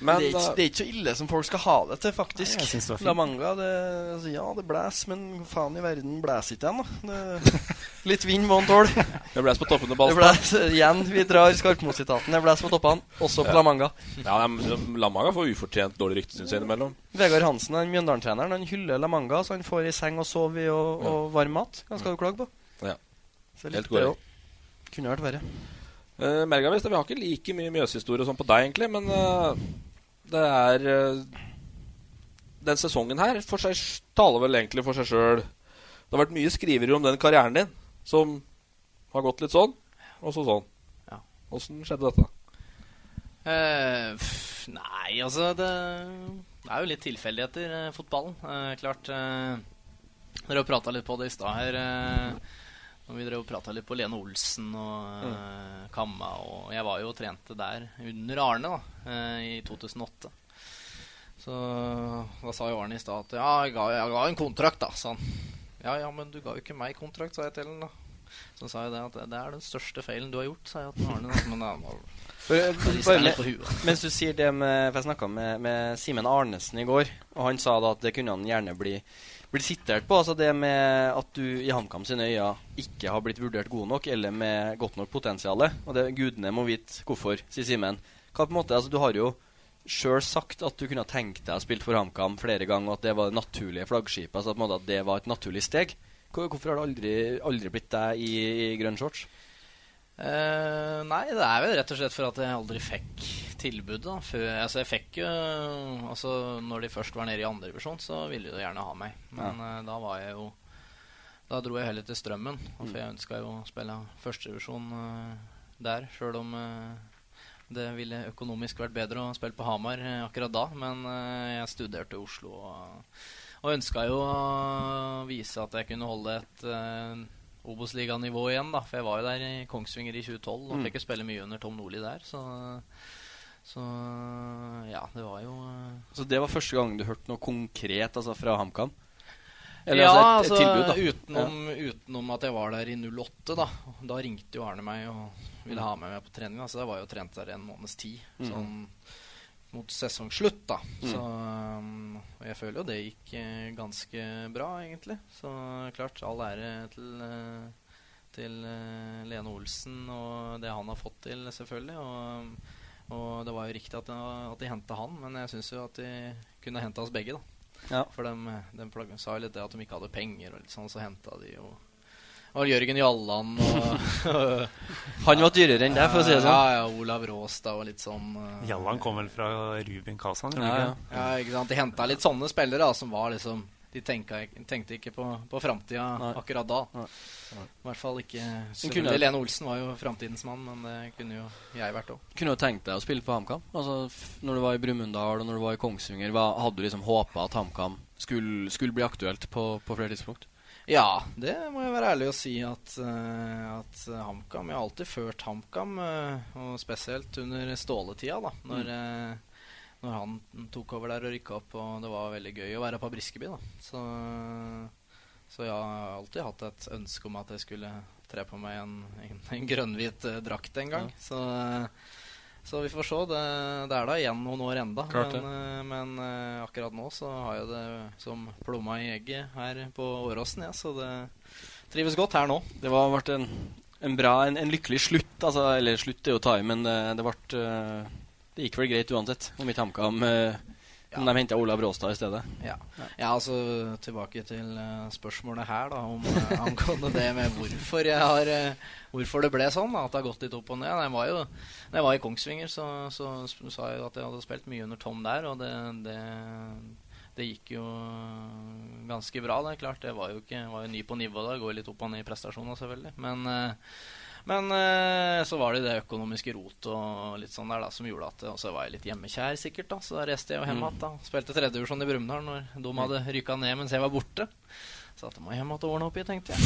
Men
eh,
det, er ikke, det er ikke så ille som folk skal ha det til, faktisk.
Nei, jeg synes det var fint.
La Manga, det, altså, ja, det blæs, men faen i verden, blæs ikke den, da. Det, litt vind må en tåle.
Det blæs på toppen av ballen.
Det blæs, eh, igjen, vi drar Skarpmo-sitaten. Det blæs på toppene, også på La Manga.
Ja, men La Manga får ufortjent dårlig rykte, syns jeg, innimellom.
Vegard Hansen, han Mjøndalen-treneren, han hyller La Manga, så han får ei seng å sove i og, og varm mat. Hva skal du klage på?
Ja.
Så
Helt
litt det
korrekt.
òg. Kunne vært verre.
Uh, Mergavis, vi har ikke like mye Mjøshistorie og sånn på deg, egentlig, men eh, det er eh, Den sesongen her for seg, taler vel egentlig for seg sjøl. Det har vært mye skriverier om den karrieren din, som har gått litt sånn, og så sånn. Åssen skjedde dette?
Eh, pff, nei, altså det, det er jo litt tilfeldigheter, eh, fotballen. Eh, klart eh, Dere har prata litt på det i stad her. Eh, når vi drev og prata litt på Lene Olsen og eh,
Mm.
Kamma og Jeg var jo og trente der under Arne da, eh, i 2008. Så da sa jo Arne i stad at ja, jeg ga, jeg ga en kontrakt, da, sa han. Ja, ja, men du ga jo ikke meg kontrakt, sa jeg til han da. Så sa jeg det at det er den største feilen du har gjort, sa jeg til Arne. da, Men da
For, eh,
Da rister
bare
jeg litt
med-
på huet.
Mens du sier det med For jeg snakka med, med Simen Arnesen i går, og han sa da at det kunne han gjerne bli, bli sitert på. Altså det med at du i HamKam sine øyne ikke har blitt vurdert god nok, eller med godt nok potensial. Og det gudene må vite hvorfor, sier Simen. Hva på en måte, altså Du har jo sjøl sagt at du kunne ha tenkt deg å spille for HamKam flere ganger, og at det var det naturlige flaggskipet. Altså på en måte at det var et naturlig steg. Hvor- Hvorfor har det aldri, aldri blitt deg i, i grønn shorts?
Eh, nei, det er vel rett og slett for at jeg aldri fikk tilbudet. Da. Før, altså, jeg fikk jo altså, Når de først var nede i andre divisjon, så ville de jo gjerne ha meg. Men eh, da var jeg jo Da dro jeg heller til Strømmen. og For jeg ønska jo å spille førstedivisjon uh, der, sjøl om eh, Det ville økonomisk vært bedre å spille på Hamar eh, akkurat da, men eh, jeg studerte i Oslo og, og ønska jo å vise at jeg kunne holde et eh, Obos-liganivå igjen, da. For jeg var jo der i Kongsvinger i 2012 og
Mm.
fikk jo spille mye under Tom Nordli der, så så ja, det var jo eh,
Så det var første gang du hørte noe konkret altså, fra HamKam?
ja,
altså,
altså,
et- et tilbud, da.
Utenom, utenom at jeg var der i 08, da. Da ringte jo Arne meg og ville ha meg med på trening. da, Så jeg var jo trent der en måneds tid.
Mm.
Sånn mot sesongslutt, da.
Mm.
Så um, og jeg føler jo det gikk eh, ganske bra, egentlig. Så klart, all ære til eh, til eh, Lene Olsen og det han har fått til, selvfølgelig. Og, og det var jo riktig at, at de henta han, men jeg syns jo at de kunne henta oss begge, da.
Ja.
For de, sa jo litt det at de ikke hadde penger, og litt sånn, så henta de jo og Jørgen Jalland og
Han var dyrere enn deg, for å si det sånn.
Ja, ja, Olav Råstad og litt sånn eh,
Jalland kom vel fra Rubin Kazan? gjorde
ja,
han
ja.
ikke det?
ikke sant? De henta litt sånne spillere da, som var liksom De tenka, ikke- tenkte ikke på, på framtida akkurat da. I hvert fall ikke
kunne-
Selvfølgelig, Lene Olsen var jo framtidens mann, men det kunne jo jeg vært òg.
Kunne du tenkt deg å spille på HamKam? Altså, f- når du var i Brumunddal og når du var i Kongsvinger, hva, hadde du liksom håpa at HamKam skulle, skulle bli aktuelt på, på flere tidspunkt?
Ja, det må jeg være ærlig og si at, eh, at HamKam Jeg har alltid ført HamKam, eh, og spesielt under Ståle-tida, da. Når, eh, når han tok over der og rykka opp, og det var veldig gøy å være på Briskeby, da. Så, så jeg har alltid hatt et ønske om at jeg skulle tre på meg en, en, en grønnhvit eh, drakt en gang. Så, så vi får se. Det, det er da igjen noen år enda.
Klart det.
men, eh, men eh, akkurat nå så har jeg det som plomma i egget her på Åråsen, jeg, så det trives godt her nå.
Det var, vært en, en bra, en, en lykkelig slutt. Altså, eller slutt er jo å ta i, men det, det ble eh, Det gikk vel greit uansett, om ikke HamKam eh, Om de henta Olav Råstad i stedet.
Ja. ja, altså tilbake til eh, spørsmålet her da, om eh, angående det med hvorfor jeg har eh, Hvorfor det ble sånn, da, at det har gått litt opp og ned. Nei, Jeg var jo, når jeg var i Kongsvinger, så, så sp- sa jeg jo at jeg hadde spilt mye under Tom der, og det, det, det gikk jo ganske bra. Det er klart, jeg var jo, ikke, jeg var jo ny på nivået da, går litt opp og ned i prestasjoner selvfølgelig. Men eh, men eh, så var det det økonomiske rotet og litt sånn der da, som gjorde at Og så var jeg litt hjemmekjær, sikkert, da, så da reiste jeg jo hjem
Mm.
igjen. da. Spilte tredjevisjon i Brumunddal når de hadde rykka ned mens jeg var borte. Så at jeg må hjem igjen og ordne opp i, tenkte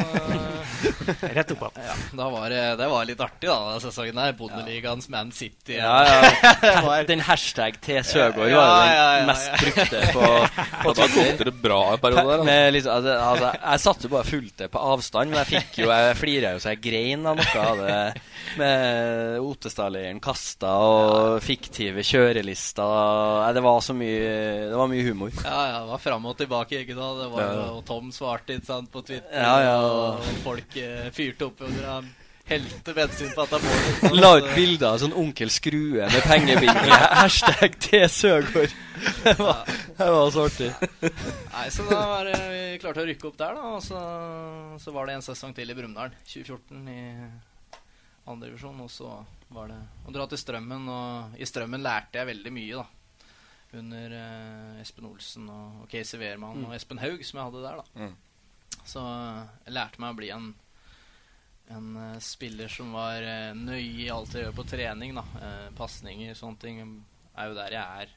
jeg. Så,
Rett opp igjen.
Ja, da var det, det var litt artig, da, den sesongen der. Bondeligaens Man City.
Ja, ja. Den hashtag T. Søgaard var jo den mest brukte på- på
Da
Twitter.
kokte det bra en periode der, altså.
Med liksom, altså, altså, jeg satt jo bare og fulgte på avstand, men jeg fikk jo Jeg flira jo så jeg grein av noe av det. Med Otestadleiren kasta og fiktive kjørelister. Nei, Det var så mye Det var mye humor.
Ja, ja, det var fram og tilbake, ikke da. Det var
Ja,
jo,
ja.
og Tom svarte ikke sant, på Twitter,
Ja, ja.
og folk eh, fyrte opp under ham. Helte bensin på Atabor.
La ut bilder av sånn onkel Skrue med pengebinge. Hashtag T. Søgaard. Det var, det var så artig.
Nei, så da var det, vi klarte å rykke opp der, da. Og så, så var det en sesong til i Brumunddal. 2014 i andre divisjon. Og så var det å dra til Strømmen. Og i Strømmen lærte jeg veldig mye, da. Under eh, Espen Olsen og, og Casey Wehrmann
Mm.
og Espen Haug, som jeg hadde der, da.
Mm.
Så jeg lærte meg å bli en en eh, spiller som var eh, nøye i alt jeg gjør på trening. da uh, Pasninger, sånne ting er jo der jeg er.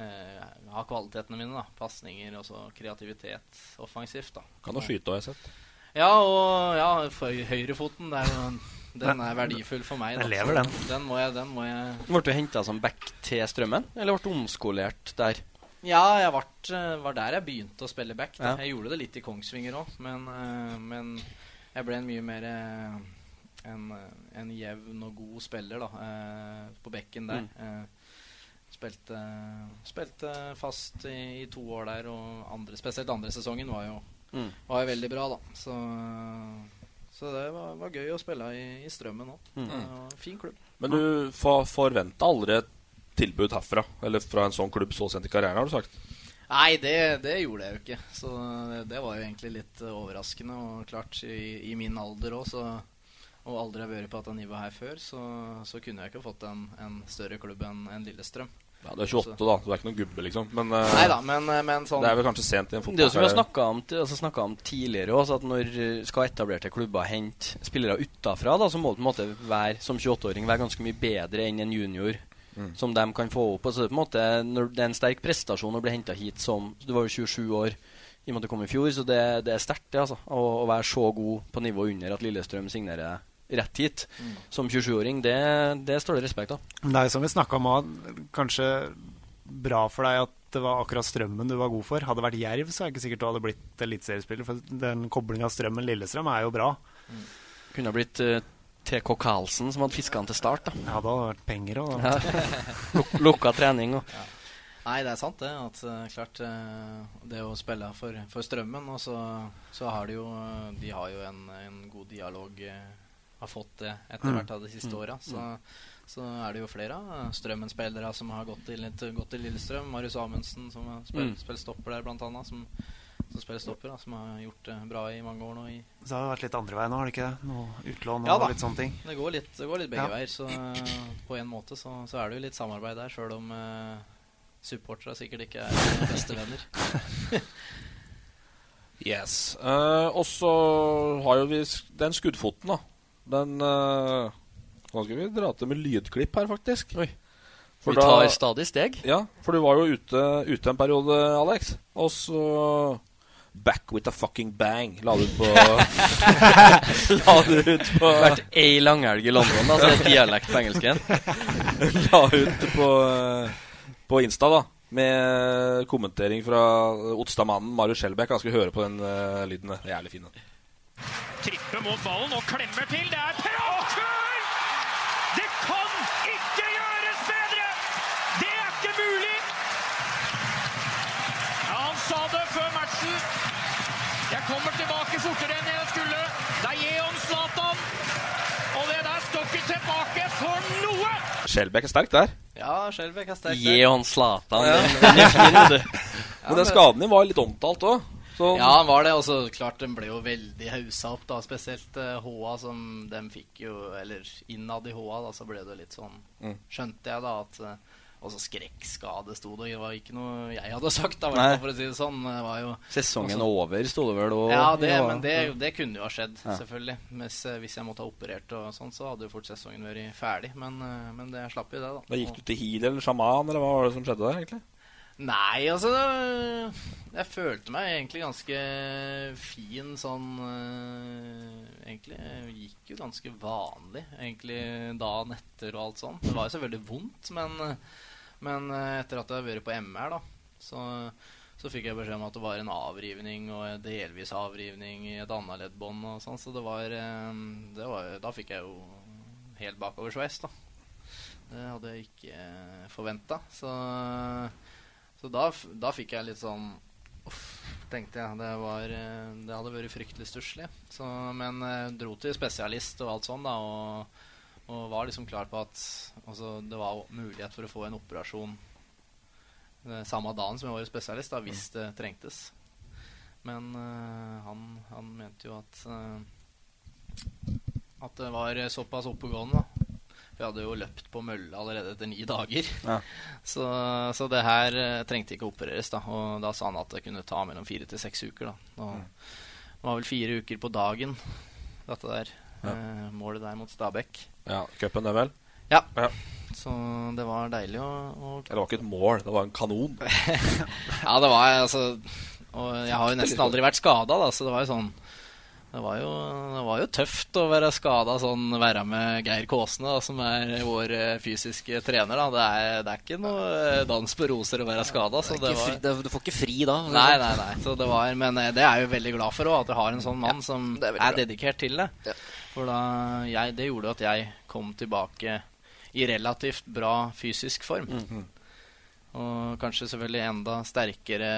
Eh, jeg har kvalitetene mine. da Pasninger og så kreativitet offensivt. da
Kan jo skyte, har jeg sett.
Ja, og ja, for høyrefoten. det er jo en- Den er verdifull for meg. da.
Den lever, den.
Så Den må jeg, den må jeg
Ble du henta som back til Strømmen, eller ble du omskolert der?
Ja, jeg vart, eh, var der jeg begynte å spille back. Da.
Ja.
Jeg gjorde det litt i Kongsvinger òg, men, eh, men jeg ble en mye mer eh, en, eh, en jevn og god spiller da, eh, på bekken der.
Mm.
Eh, Spilte, spilte fast i, i to år der, og andre, spesielt andre sesongen var jo,
Mm.
var jo veldig bra, da. Så, så det var, var gøy å spille i, i Strømmen òg.
Mm.
Fin klubb.
Men du for, forventa aldri et tilbud herfra? Eller fra en sånn klubb så sent i karrieren, har du sagt?
Nei, det, det gjorde jeg jo ikke. Så det var jo egentlig litt eh, overraskende. Og klart, i, i min alder òg, så Og aldri har vært på dette nivået her før, så, så kunne jeg ikke fått en, en større klubb enn enn Lillestrøm.
Ja, du er 28, da. Du er ikke noen gubbe, liksom. Men, eh,
Neida, men, eh, men sånn-
det er vel kanskje sent i en
Det er jo som vi har
fotballkarriere.
snakka om, ti- altså snakket om tidligere også, at når eh, skal etablerte klubber hente spillere utafra, da, så må du på en måte være, som 28-åring være ganske mye bedre enn en junior.
Mm.
Som de kan få opp. Altså, det, er på en måte, når det er en sterk prestasjon å bli henta hit som Du var jo 27 år i og med at du kom i fjor, så det, det er sterkt det, altså, å, å være så god på nivå under at Lillestrøm signerer deg rett hit.
Mm.
Som 27-åring, det, det står det respekt av.
Men det er jo som vi snakka om, at kanskje bra for deg at det var akkurat Strømmen du var god for. Hadde det vært Jerv, så er det ikke sikkert du hadde blitt eliteseriespiller. For den koblinga Strømmen-Lillestrøm er jo bra.
Mm. Kunne ha blitt eh, TK Karlsen som hadde fiska han til start. da
Ja, det hadde vært penger òg,
Ja. Luk- Lukka trening og
Nei, det er sant det. At eh, klart eh, Det å spille for, for strømmen, og så, så har de jo eh, De har jo en, en god dialog eh, Har fått det etter
Mm.
hvert av de siste
Mm.
åra. Så, så er det jo flere av eh, strømmen-spillere som har gått til, litt- gått til Lillestrøm. Marius Amundsen, som har spilt,
Mm.
spilt stopper der, blant annet. Som, som spiller stopper, da, som har gjort det bra i mange år nå i
Så har det vært litt andre veien nå, har det ikke det? Noe utlån og
ja, da.
litt sånne ting.
Det går litt, det går litt begge
Ja.
veier. Så eh, på en måte så, så er det jo litt samarbeid der, sjøl om uh, supporterne sikkert ikke er bestevenner.
Yes. Eh, og så har jo vi sk- den skuddfoten, da. Den eh, Nå skal vi dra til med lydklipp her, faktisk.
Vi tar stadig steg.
Ja, for du var jo ute, ute en periode, Alex. Og så Back with a fucking bang la du ut på La du ut på
Vært ei langelg i London, da, så det er dialekt på engelsken.
la ut på, eh, på Insta, da. Med kommentering fra Otstadmannen Marius Skjelbæk. Han skal høre på den eh, lyden. der. Det er jævlig fin. den.
Trippe mot ballen og klemmer til. Det er praktfull! Det kan ikke gjøres bedre! Det er ikke mulig! Ja, han sa det før matchen. Jeg kommer tilbake fortere enn jeg skulle. Det er Jeon Zlatan. Og det der står ikke tilbake for noe!
Skjelbæk er sterk der.
Ja, Skjelbæk er sterk.
Gi han Zlatan.
Ja.
Den er fin, vet du.
Men den skaden din var litt omtalt òg.
Ja, han var det. Og så klart, den ble jo veldig haussa opp, da. Spesielt eh, HA, som de fikk jo Eller innad i HA, da, så ble det litt sånn
Mm.
Skjønte jeg, da, at eh, også skrekkskade sto det. Det var ikke noe jeg hadde sagt, da, i hvert
Nei.
fall, for å si det sånn. Det var jo
Sesongen
Altså.
over, sto det vel. Og,
Ja, det,
og-
men det, det kunne jo ha skjedd,
Ja.
selvfølgelig. Mens, eh, hvis jeg måtte ha operert og sånn, så hadde jo fort sesongen vært ferdig. Men, eh, men det jeg slapp jo det, da.
Da gikk du til heal eller sjaman, eller hva var det som skjedde der? egentlig?
Nei, altså det- Jeg følte meg egentlig ganske fin sånn eh, Egentlig jeg gikk jo ganske vanlig egentlig dagen etter og alt sånt. Det var jo selvfølgelig vondt, men, men eh, etter at jeg har vært på MR, da, så, så fikk jeg beskjed om at det var en avrivning og en delvis avrivning i et annet leddbånd og sånn, så det var, eh, det var jo- Da fikk jeg jo helt bakoversveis, da. Det hadde jeg ikke forventa. Så, så da, f- da fikk jeg litt sånn Uff, tenkte jeg. Det, var, eh, det hadde vært fryktelig stusslig. Så- Men eh, dro til spesialist og alt sånn, da. Og, og var liksom klar på at altså, det var mulighet for å få en operasjon eh, samme dagen som jeg var hos spesialist, da, hvis det trengtes. Men eh, han, han mente jo at eh, at det var såpass oppegående. da. For jeg hadde jo løpt på mølla allerede etter ni dager.
Ja.
Så, så det her eh, trengte ikke opereres. da Og da sa han at det kunne ta mellom fire til seks uker. da Og Det var vel fire uker på dagen, dette der. Eh, målet der mot Stabæk.
Ja, Cupen, det vel?
Ja. Så det var deilig å, å
Eller det var ikke et mål, det var en kanon.
Ja, det var altså Og jeg har jo nesten aldri vært skada, da, så det var jo sånn det var, jo, det var jo tøft å være skada sånn, være med Geir Kåsne, da, som er vår eh, fysiske trener. Da. Det, er, det er ikke noe eh, dans på roser å være skada.
Det er ikke fri- det er- Du får ikke fri da. Sånn.
Nei, nei, nei. Så det var, men eh, det er jeg jo veldig glad for òg, at du har en sånn mann som er, dedikert til det. For da, jeg, det gjorde at jeg kom tilbake i relativt bra fysisk form. Og kanskje selvfølgelig enda sterkere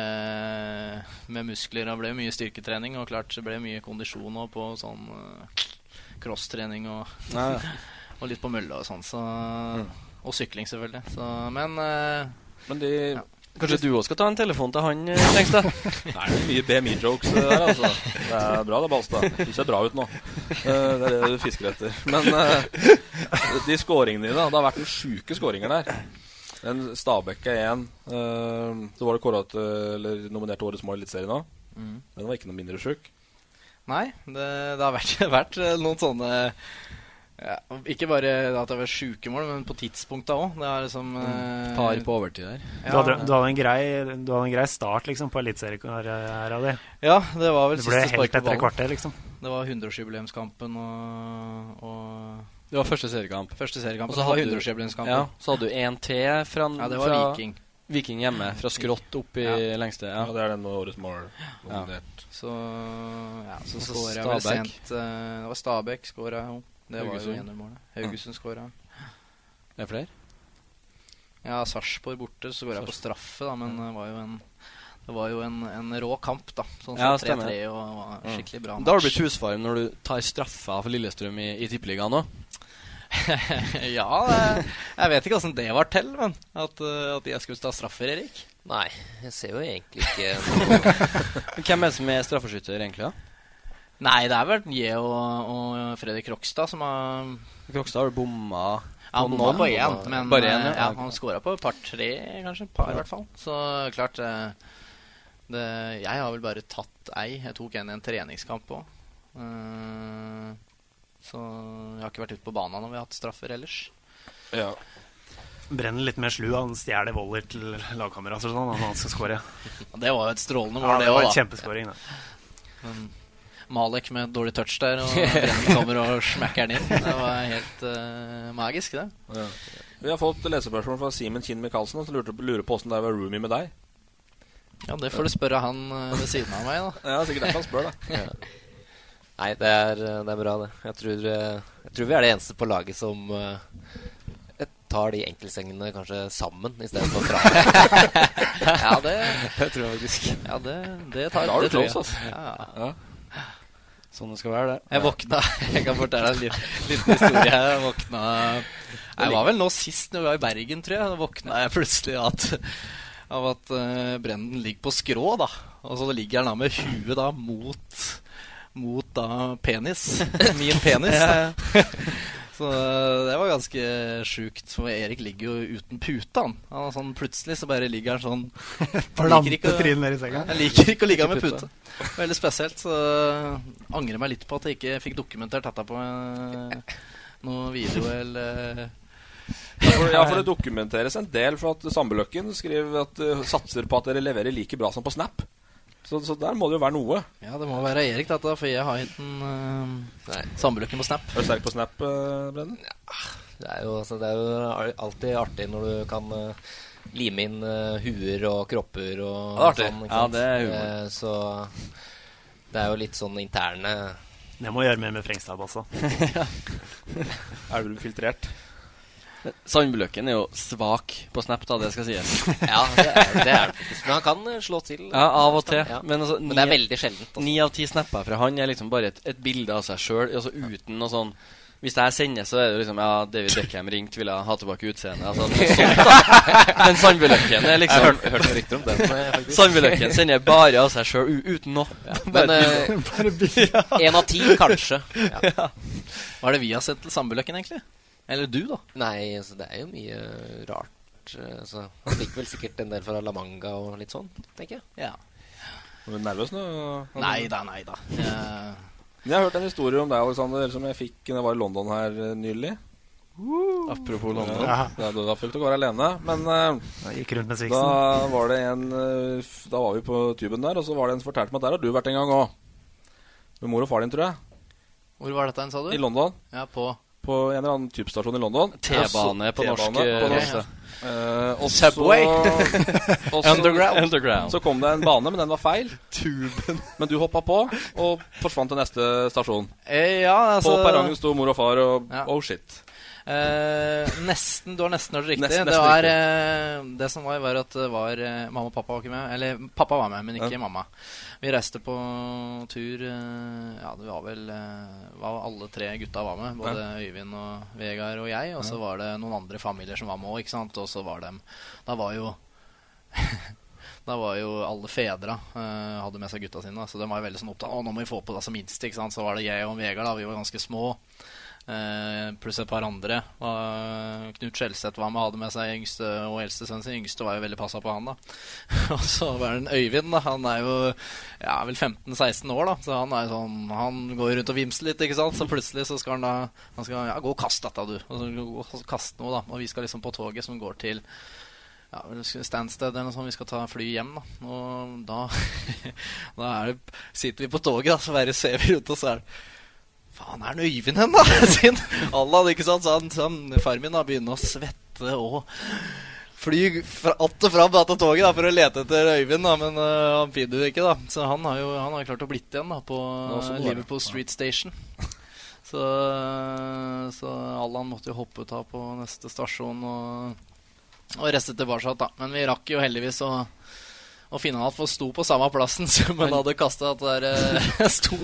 med muskler. Det ble mye styrketrening, og klart det ble mye kondisjon òg på sånn eh, crosstrening og,
Ja, ja.
og litt på mølla og sånn. Så, Og sykling, selvfølgelig. Så, men eh, ja.
Kanskje du òg skal ta en telefon til han, eh, Lengstad?
Nei, det er mye BMI-jokes det der, altså. Det er bra, det, Balstad. Du ser bra ut nå. Eh, Det er det du fisker etter. Men eh, de scoringene dine, da, det har vært noen sjuke scoringer der. Men Stabæk er én. Eh, så var det kåra til eller nominert til Årets mål i Eliteserien òg.
Mm.
Den var ikke noe mindre sjuk.
Nei, det, det har vært, vært eh, noen sånne ja, Ikke bare at det har vært sjuke mål, men på tidspunkta òg. Det er liksom
Mm.
eh,
Par på overtid der.
Du, hadde, du, hadde en grei, du hadde en grei start liksom, på eliteseriekarrieren din.
Ja, det var vel
det ble
siste
helt
spark på
etter et
ballen.
kvarter, liksom.
Det var 100-årsjubileumskampen og, og
Det var første seriekamp.
Første seriekamp,
Og
det var
hadde du-
100-årsjubileumskampen.
Ja, så hadde du en til fra,
Ja, det var
fra
Viking.
Viking hjemme. Fra skrått opp i
Ja.
lengste. Ja.
det er den med årets mål.
Ja.
Så ja, så
Og så
skåra vel
Stabæk.
sent eh, Det var Stabæk skåra jo. Det var jo
Haugesund.
enermålet. Haugesund skåra.
Det er flere?
Ja, Sarpsborg borte, så skåra jeg på straffe, da, men det var jo en det var jo en, en rå kamp, da. Sånn som 3-3 og var en skikkelig bra
Mm.
match.
Da har du blitt husfarm når du tar straffa for Lillestrøm i, i Tippeligaen òg.
ja, det, jeg vet ikke åssen det var til, men at, eh, at jeg skulle ta straffer, Erik.
Nei, jeg ser jo egentlig
Hvem
ikke
er det som er straffeskytter, egentlig? da?
Nei, det er vel Nye og, og Fredrik Krokstad som har
Krokstad har bomma
Ja, han
på
bomma
noen.
på én, men
Bare én,
eh,
ja.
ja. han skåra på et par tre, kanskje. Et par, i hvert fall. Så klart eh, det, Jeg har vel bare tatt ei. Jeg tok en i en treningskamp òg. så jeg har ikke vært ute på banen når vi har hatt straffer ellers.
Ja.
Brenner litt mer slu. Han stjeler voller til lagkamerater og sånn. Han, han skal score.
Det var jo et strålende
Ja,
mål,
det var en
også, da.
kjempeskåring, det.
Men Malek med dårlig touch der, og Brenn kommer og smekker den inn. Det var helt eh, magisk, det.
Ja. Vi har fått lesespørsmål fra Simen Kinn Michaelsen, som lurte- lurer på åssen det er å være roomie med deg.
Ja, det får du spørre han eh, ved siden av meg, da.
Ja, sikkert derfor han spør, da.
Ja. Nei, det er, eh, det er bra, det. Jeg tror, eh, jeg tror vi er det eneste på laget som eh, tar de enkeltsengene kanskje sammen istedenfor fra.
ja, det
Jeg tror jeg faktisk.
Ja, det, det tar
Da er du
det tror jeg.
close, altså.
Ja.
Sånn det skal være, det.
Jeg våkna Jeg kan fortelle en liten, liten historie. Jeg våkna Jeg var vel nå sist når vi var i Bergen, tror jeg. Da våkna jeg plutselig at, av at eh, Brenden ligger på skrå, da. Og så ligger han Altså, da med huet da mot mot da penis. Min penis.
Ja,
Da. Så eh, det var ganske sjukt. For Erik ligger jo uten pute, han. han er sånn, plutselig så bare ligger han sånn Han liker ikke å-
Planter trynet ned i senga.
Han liker ikke å ligge med
Ikke pute.
pute. Veldig spesielt. Så eh, angrer meg litt på at jeg ikke fikk dokumentert dette på eh, noe video eller eh,
Ja, for, ja, for det dokumenteres en del, for at Sambeløkken skriver at uh, satser på at dere leverer like bra som på Snap. Så, så der må det jo være noe.
Ja, det må være Erik, dette, for jeg har ikke en uh, på Snap.
Er du sterk på Snap, eh, Brennen?
Det er, jo, altså, det er jo al- alltid artig når du kan eh, lime inn eh, huer og kropper og
Ja, det er artig.
sånn. ikke
Ja,
sant?
det er humor.
Eh, så det er jo litt sånn interne
Jeg må gjøre mer med altså. Frengstab også.
Elvrum-filtrert.
Sandbløken er jo svak på Snap, da, det skal sies.
Ja, det er det er det faktisk. Men han kan eh, slå til.
Ja, av og til.
Ja.
Men, altså,
Men det er
ni-
veldig sjeldent.
Ni av ti snapper fra han er liksom bare et, et bilde av seg sjøl, altså uten noe sånn hvis det her sendes, så er det liksom Ja, David Beckham ringte, ville ha tilbake utseendet. Altså, noe sånt, da. Men Sandbyløkken er liksom
Jeg hørte- jeg hørte rykter om den,
Sånn
eh, faktisk.
Sandbyløkken sender bare av seg sjøl, uten noe.
Men
et
eh,
bilde.
en av ti, kanskje. Ja.
Hva er det vi har sendt til Sambeløkken, egentlig? Eller du, da?
Nei, altså, det er jo mye rart. eh, Så han fikk vel sikkert en del fra La Manga og litt sånn, tenker jeg.
Ja.
Er du nervøs nå?
Nei da, nei da. Eh, Jeg-
Men jeg har hørt en historie om deg, Alexander, som jeg fikk når jeg var i London her eh, nylig. Apropos London. Ja. Det
Ja.
er da fullt å gå her alene. Men eh,
Jeg gikk rundt med sviksen.
da var det en eh, f- Da var vi på tuben der, og så var det en som fortalte meg at der har du vært en gang òg. Med mor og far din, tror jeg.
Hvor var dette hen, sa du?
I London.
Ja, på
På en eller annen tubestasjon i London.
T-bane på
T-bane
norsk,
på
eh,
norsk.
ja.
Eh, og
Subway.
så- og så-
Underground. Underground.
Så kom det en bane, men den var feil. Tuben. Men du hoppa på og forsvant til neste stasjon.
Eh, ja, altså
På perrongen sto mor og far og
Ja.
oh shit.
Eh, nesten, Du har nesten hørt riktig.
Nesten-
det,
nesten
var, eh, det som var, var at det var eh, mamma og pappa var ikke med. Eller pappa var med, men ikke
Ja.
mamma. Vi reiste på tur eh, Ja, det var vel eh, var alle tre gutta var med. Både Øyvind og Vegard og jeg. Og så
Ja.
var det noen andre familier som var med òg, ikke sant. Og så var dem Da var jo da var jo alle fedra eh, hadde med seg gutta sine. da. Så de var jo veldig sånn opptatt Å, nå må vi få på det som minste. ikke sant? Så var det jeg og Vegard, da. Vi var ganske små. eh, pluss et par andre. Og Knut Skjelseth var med og hadde med seg yngste og eldste sønnen sin. Yngste var jo veldig passa på han, da. og så var det en Øyvind, da. Han er jo ja, vel 15-16 år, da. Så han er jo sånn Han går rundt og vimser litt, ikke sant. Så plutselig så skal han da Han skal ja, gå og kast dette, du. Og så gå og kaste noe, da. Og vi skal liksom på toget som går til ja, vel, Stansted eller noe sånt. Vi skal ta fly hjem, da. Og da, da er det, sitter vi på toget, da, så bare ser vi rundt oss, så er det Faen, er den Øyvind hen, da? Sin Allah, ikke sant? Så han, så han far min da begynner å svette og fly fra, att og fram på dette toget da, for å lete etter Øyvind, da, men øh, han finner det ikke, da. Så han har jo han har klart å blitt igjen da, på
Det er også bra.
Liverpool Street Station. Så, så Allan måtte jo hoppe ut av på neste stasjon og, og reiste tilbake. igjen, Da. Men vi rakk jo heldigvis å, å finne han, for han sto på samme plassen som han hadde kasta at det der eh, sto,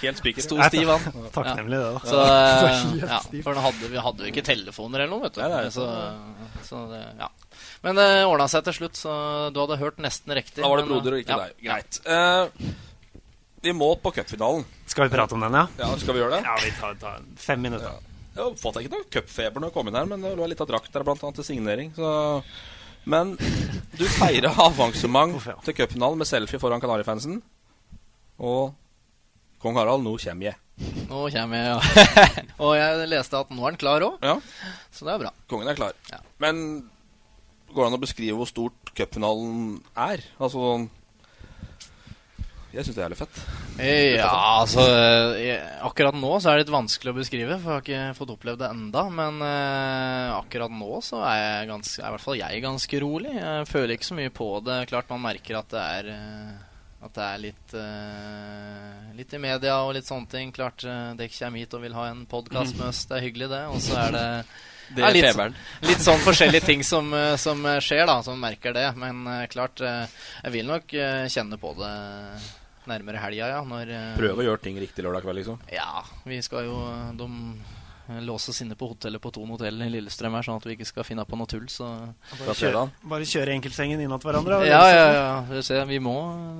Helt spiker.
sto
Nei,
stiv han.
takk- takknemlig det, da.
Så,
Ja.
eh, ja, for han hadde, vi hadde jo ikke telefoner eller noe, vet du. så, så det, ja. Men det ordna seg til slutt, så du hadde hørt nesten riktig.
Da var det
men, eh,
broder og ikke
ja.
deg. Greit. Eh, vi må på cupfinalen.
Skal vi prate om den, ja?
Ja, skal vi gjøre det?
Ja, vi tar, tar fem minutter.
Jeg oppfatta ikke noe cupfeber når jeg kom inn her, men det lå litt av drakt der, blant annet til signering. Så. Men du feira avansement til cupfinalen med selfie foran Kanarifansen. Og kong Harald, nå kommer jeg.
Nå kommer jeg, ja. og jeg leste at nå er han klar òg, så det er bra.
Kongen er klar. Men går det an å beskrive hvor stort cupfinalen er? Altså Jeg syns det er litt fett.
Ja, altså eh, Akkurat nå så er det litt vanskelig å beskrive, for jeg har ikke fått opplevd det enda Men eh, akkurat nå så er, jeg ganske, er i hvert fall jeg ganske rolig. Jeg føler ikke så mye på det. Klart man merker at det er eh, at det er litt eh, Litt i media og litt sånne ting. Klart eh, dere kommer hit og vil ha en podkast med oss. Det er hyggelig, det. Og så er det
Det
Ja,
er
litt,
feberen.
litt sånn forskjellige ting som, eh, som skjer, da, som merker det. Men eh, klart, eh, jeg vil nok eh, kjenne på det nærmere helga, ja. Når, eh,
Prøve å gjøre ting riktig lørdag kveld, liksom.
Ja. Vi skal jo eh, De eh, låser oss inne på hotellet på Thon hotell i Lillestrøm her, sånn at vi ikke skal finne på noe tull, så
Bare kjøre, bare kjøre enkeltsengen innat hverandre.
ja, ja, ja. Vi ser, vi må,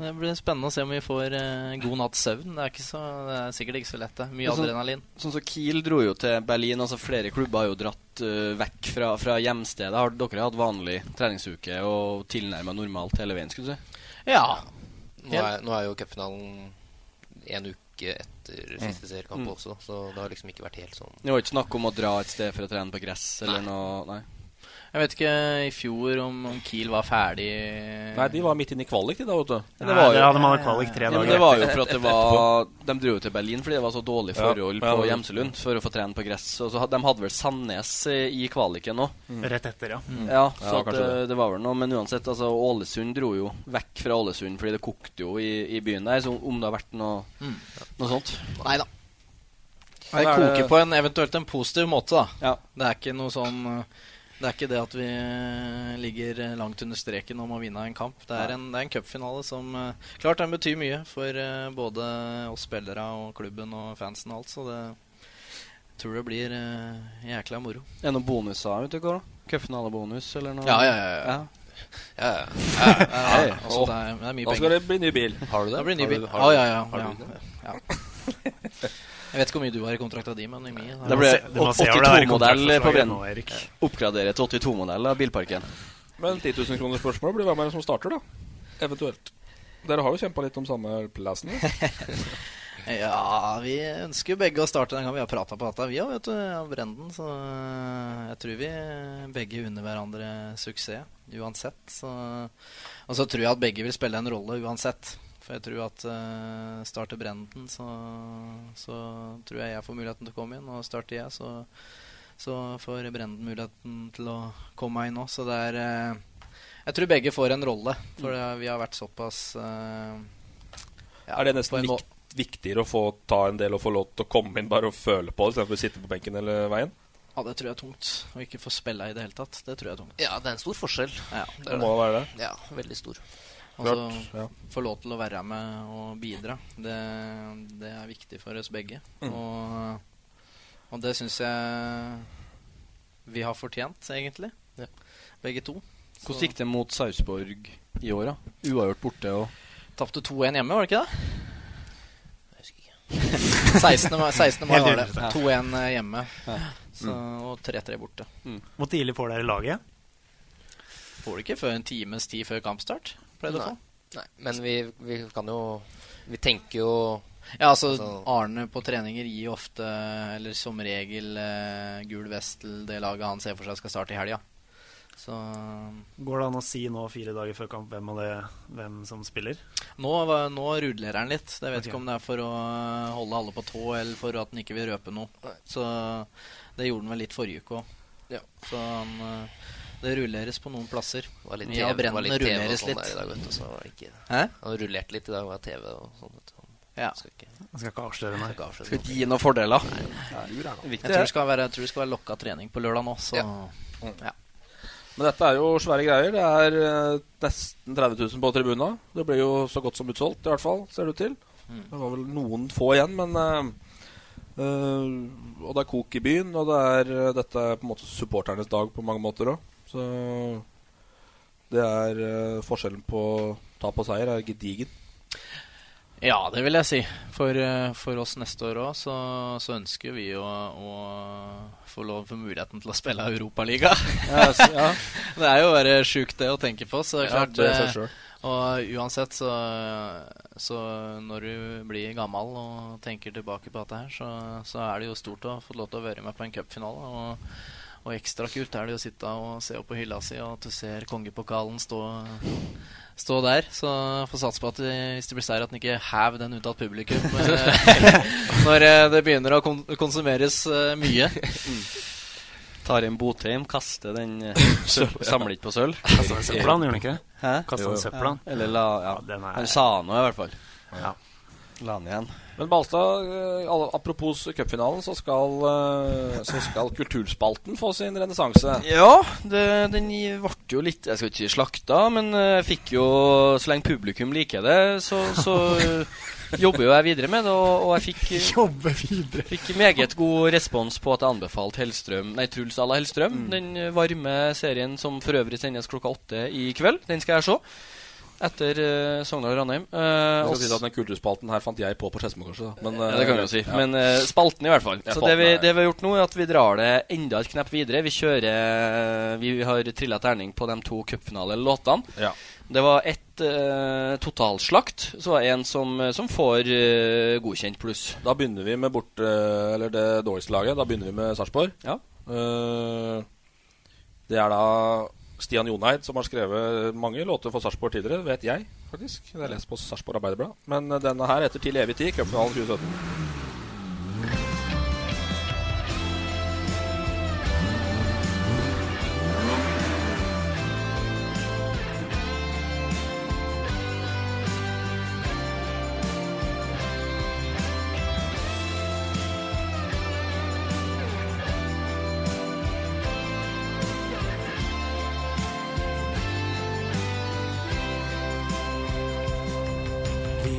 det blir spennende å se om vi får eh, god natts søvn. Det er, ikke så, det er sikkert ikke så lett. det Mye
Sånn-
adrenalin.
Sånn som Kiel dro jo til Berlin. altså Flere klubber har jo dratt eh, vekk fra, fra hjemstedet. Har dere hatt vanlig treningsuke og tilnærma normalt hele veien? skulle du si?
Ja.
Nå er, nå er jo cupfinalen en uke etter siste
Mm.
seriekamp
Mm.
også, så det har liksom ikke vært helt sånn.
Det var ikke snakk om å dra et sted for å trene på gress eller noe? Nei.
Jeg vet ikke i fjor om, om Kiel var ferdig
Nei, de var midt inne i kvalik, de da, vet du.
Men det var jo- ja, men Det var jo
etter-
for at det
etter-
var De dro jo til Berlin fordi det var så dårlig
Ja,
forhold
ja,
på
ja.
Gjemselund for å få trene på gress. Og så had- De hadde vel Sandnes eh, i kvaliken nå.
Mm. Rett etter, ja. Mm.
Ja,
Ja,
så at,
kanskje
eh,
det.
det var vel noe. Men uansett, altså Ålesund dro jo vekk fra Ålesund fordi det kokte jo i, i byen der. Så om det har vært noe,
Mm.
noe sånt
Nei da.
Nei,
Det
da er
koker
det-
på en eventuelt en positiv måte, da. Det er ikke noe sånn eh, Det er ikke det at vi eh, ligger eh, langt under streken om å vinne en kamp. Det er
Nei.
en, det er en cupfinale som eh, Klart den betyr mye for eh, både oss spillere og klubben og fansen og alt, så det jeg tror det blir eh, jækla moro.
Er det noen bonuser ute og går, da? Cupfinalebonus eller noe?
Ja, ja, ja, ja. Ja, ja. Ja, ja, ja. Altså, det er- det er mye
Da skal
penger.
det bli ny bil.
Har du det?
Da blir det ny
Har du-
bil.
har
Ja,
du-
ja, ja.
har du
ja. ja. Jeg vet ikke hvor mye du har i kontrakta di, men i mye.
Det ble 82-modell på Brenn. Oppgradere til 82-modell av bilparken.
Men 10 000 kroner spørsmål blir hvem er det som starter, da? Eventuelt. Dere har jo kjempa litt om samme plassen.
Ja, vi ønsker jo begge å starte den gangen vi har prata på dette, vi òg, vet du. Av Brenden. Så eh, jeg tror vi begge unner hverandre suksess uansett. Så, og så tror jeg at begge vil spille en rolle uansett. For jeg tror at eh, starter Brenden, så, så tror jeg jeg får muligheten til å komme inn. Og starter jeg, så, så får Brenden muligheten til å komme inn òg. Så det er eh, Jeg tror begge får en rolle, for det, vi har vært såpass eh, ja,
er det
på
nesten
en må-
vikt, viktigere å få ta en del og få lov til å komme inn bare og føle på det, istedenfor å sitte på benken hele veien?
Ja, det tror jeg er tungt. Å ikke få spille i det hele tatt. Det tror jeg er tungt.
Ja, det er en stor forskjell.
Ja,
Det er
Det må
det.
være det.
Ja, veldig stor.
Altså,
Klart,
Få lov til å være med og bidra. Det, det er viktig for oss begge.
Mm.
Og, og det syns jeg vi har fortjent, egentlig. Begge to.
Hvordan gikk det mot Sarpsborg i år, da? Uavgjort borte og
Tapte 2-1 hjemme, var det ikke det? 16. mai, 16. mai var
Helt
det.
uinteressant.
2-1 hjemme så,
Mm.
og 3-3 borte.
Hvor tidlig får dere laget?
Får du ikke før en times tid før kampstart? Pleide du å
Nei.
få?
Nei, men vi, vi kan jo Vi tenker jo
Ja, altså Arne på treninger gir ofte, eller som regel, eh, gul vest til det laget han ser for seg skal starte i helga. Så
Går det an å si nå fire dager før kamp hvem, av det, hvem som spiller?
nå, var- nå rudler han litt. Jeg vet ikke om det er for å eh, holde alle på tå, eller for at han ikke vil røpe noe. Så det gjorde han vel litt forrige uke òg. Så han eh, Det rulleres på noen plasser.
litt
Mye av
TV var
brennene
litt TV og
rulleres
sånn
litt.
der i dag, vet du, så var det ikke-
Hæ?
Han rullerte litt i dag, var TV og sånn. vet du.
Ja.
Skal ikke,
Han skal ikke avsløre meg.
avsløre
Skal
noe.
ikke gi noen fordeler.
Jeg tror det skal være, jeg tror det skal være lokka trening på lørdag nå, så ja.
Men dette er jo svære greier. Det er eh, nesten 30 000 på tribuna. Det blir jo så godt som utsolgt, i hvert fall, ser det ut til.
Mm.
Det var vel noen få igjen, men eh, eh, Og det er kok i byen, og det er, eh, dette er på en måte supporternes dag på mange måter òg. Så det er eh, forskjellen på tap og seier er gedigen.
Ja, det vil jeg si. For, eh, for oss neste år òg, så, så ønsker vi å, å få lov for muligheten til å spille Europaliga.
Ja, s- ja.
det er jo bare sjukt det å tenke på. Så det er
Ja,
klart,
det er seg
eh,
selv.
og uansett, så, så når du blir gammel og tenker tilbake på dette her, så, så er det jo stort å ha fått lov til å være med på en cupfinale. Og, og ekstra kult er det jo å sitte og se opp på hylla si, og at du ser kongepokalen stå stå der. Så får satse på at eh, hvis det blir seier, at den ikke hever den ut av publikum eh, når eh, det begynner å kon konsumeres eh, mye.
Tar en Botheim, kaster den eh, søpp- Samler ikke på sølv.
Kastet den i søpla, han gjorde ikke det?
Hæ?
Kastet den i søpla, han.
Ja. Eller la ja.
Ja, den er-
Han sa noe, i hvert fall.
Ja.
La han igjen.
Men Balstad, eh, alle- apropos cupfinalen, så skal, eh, så skal kulturspalten få sin renessanse.
Ja, det, den i- ble jo litt Jeg skal ikke si slakta, men eh, jeg fikk jo Så lenge publikum liker det, så, så eh, jobber jo jeg videre med det. Og, og jeg fikk eh,
Jobbe videre.
Fikk meget god respons på at jeg anbefalte Hellstrøm Nei, Truls à la Hellstrøm.
Mm.
Den eh, varme serien som for øvrig sendes klokka åtte i kveld. Den skal jeg se. Etter eh, Sogndal og Ranheim. Eh,
Jeg
og
skal si at Den kulturspalten her fant jeg på på Skedsmo, kanskje. da. Men,
ja,
eh,
det kan vi jo si.
ja.
Men eh, spalten, i hvert fall.
Ja,
Så
spalten
det vi,
er-
det vi har gjort nå, er at vi drar det enda et knepp videre. Vi kjører Vi har trilla terning på de to cupfinalelåtene.
Ja.
Det var ett eh, totalslakt, så var det en som, som får eh, godkjent pluss.
Da begynner vi med bort, eh, eller det dårligste laget. Da begynner vi med Sarpsborg. Eh, det er da Stian Joneid som har skrevet mange låter for Sarpsborg tidligere, vet jeg faktisk. Det har jeg lest på Sarpsborg Arbeiderblad. Men eh, denne her heter Til evig tid, cupfinalen 2017.
Vi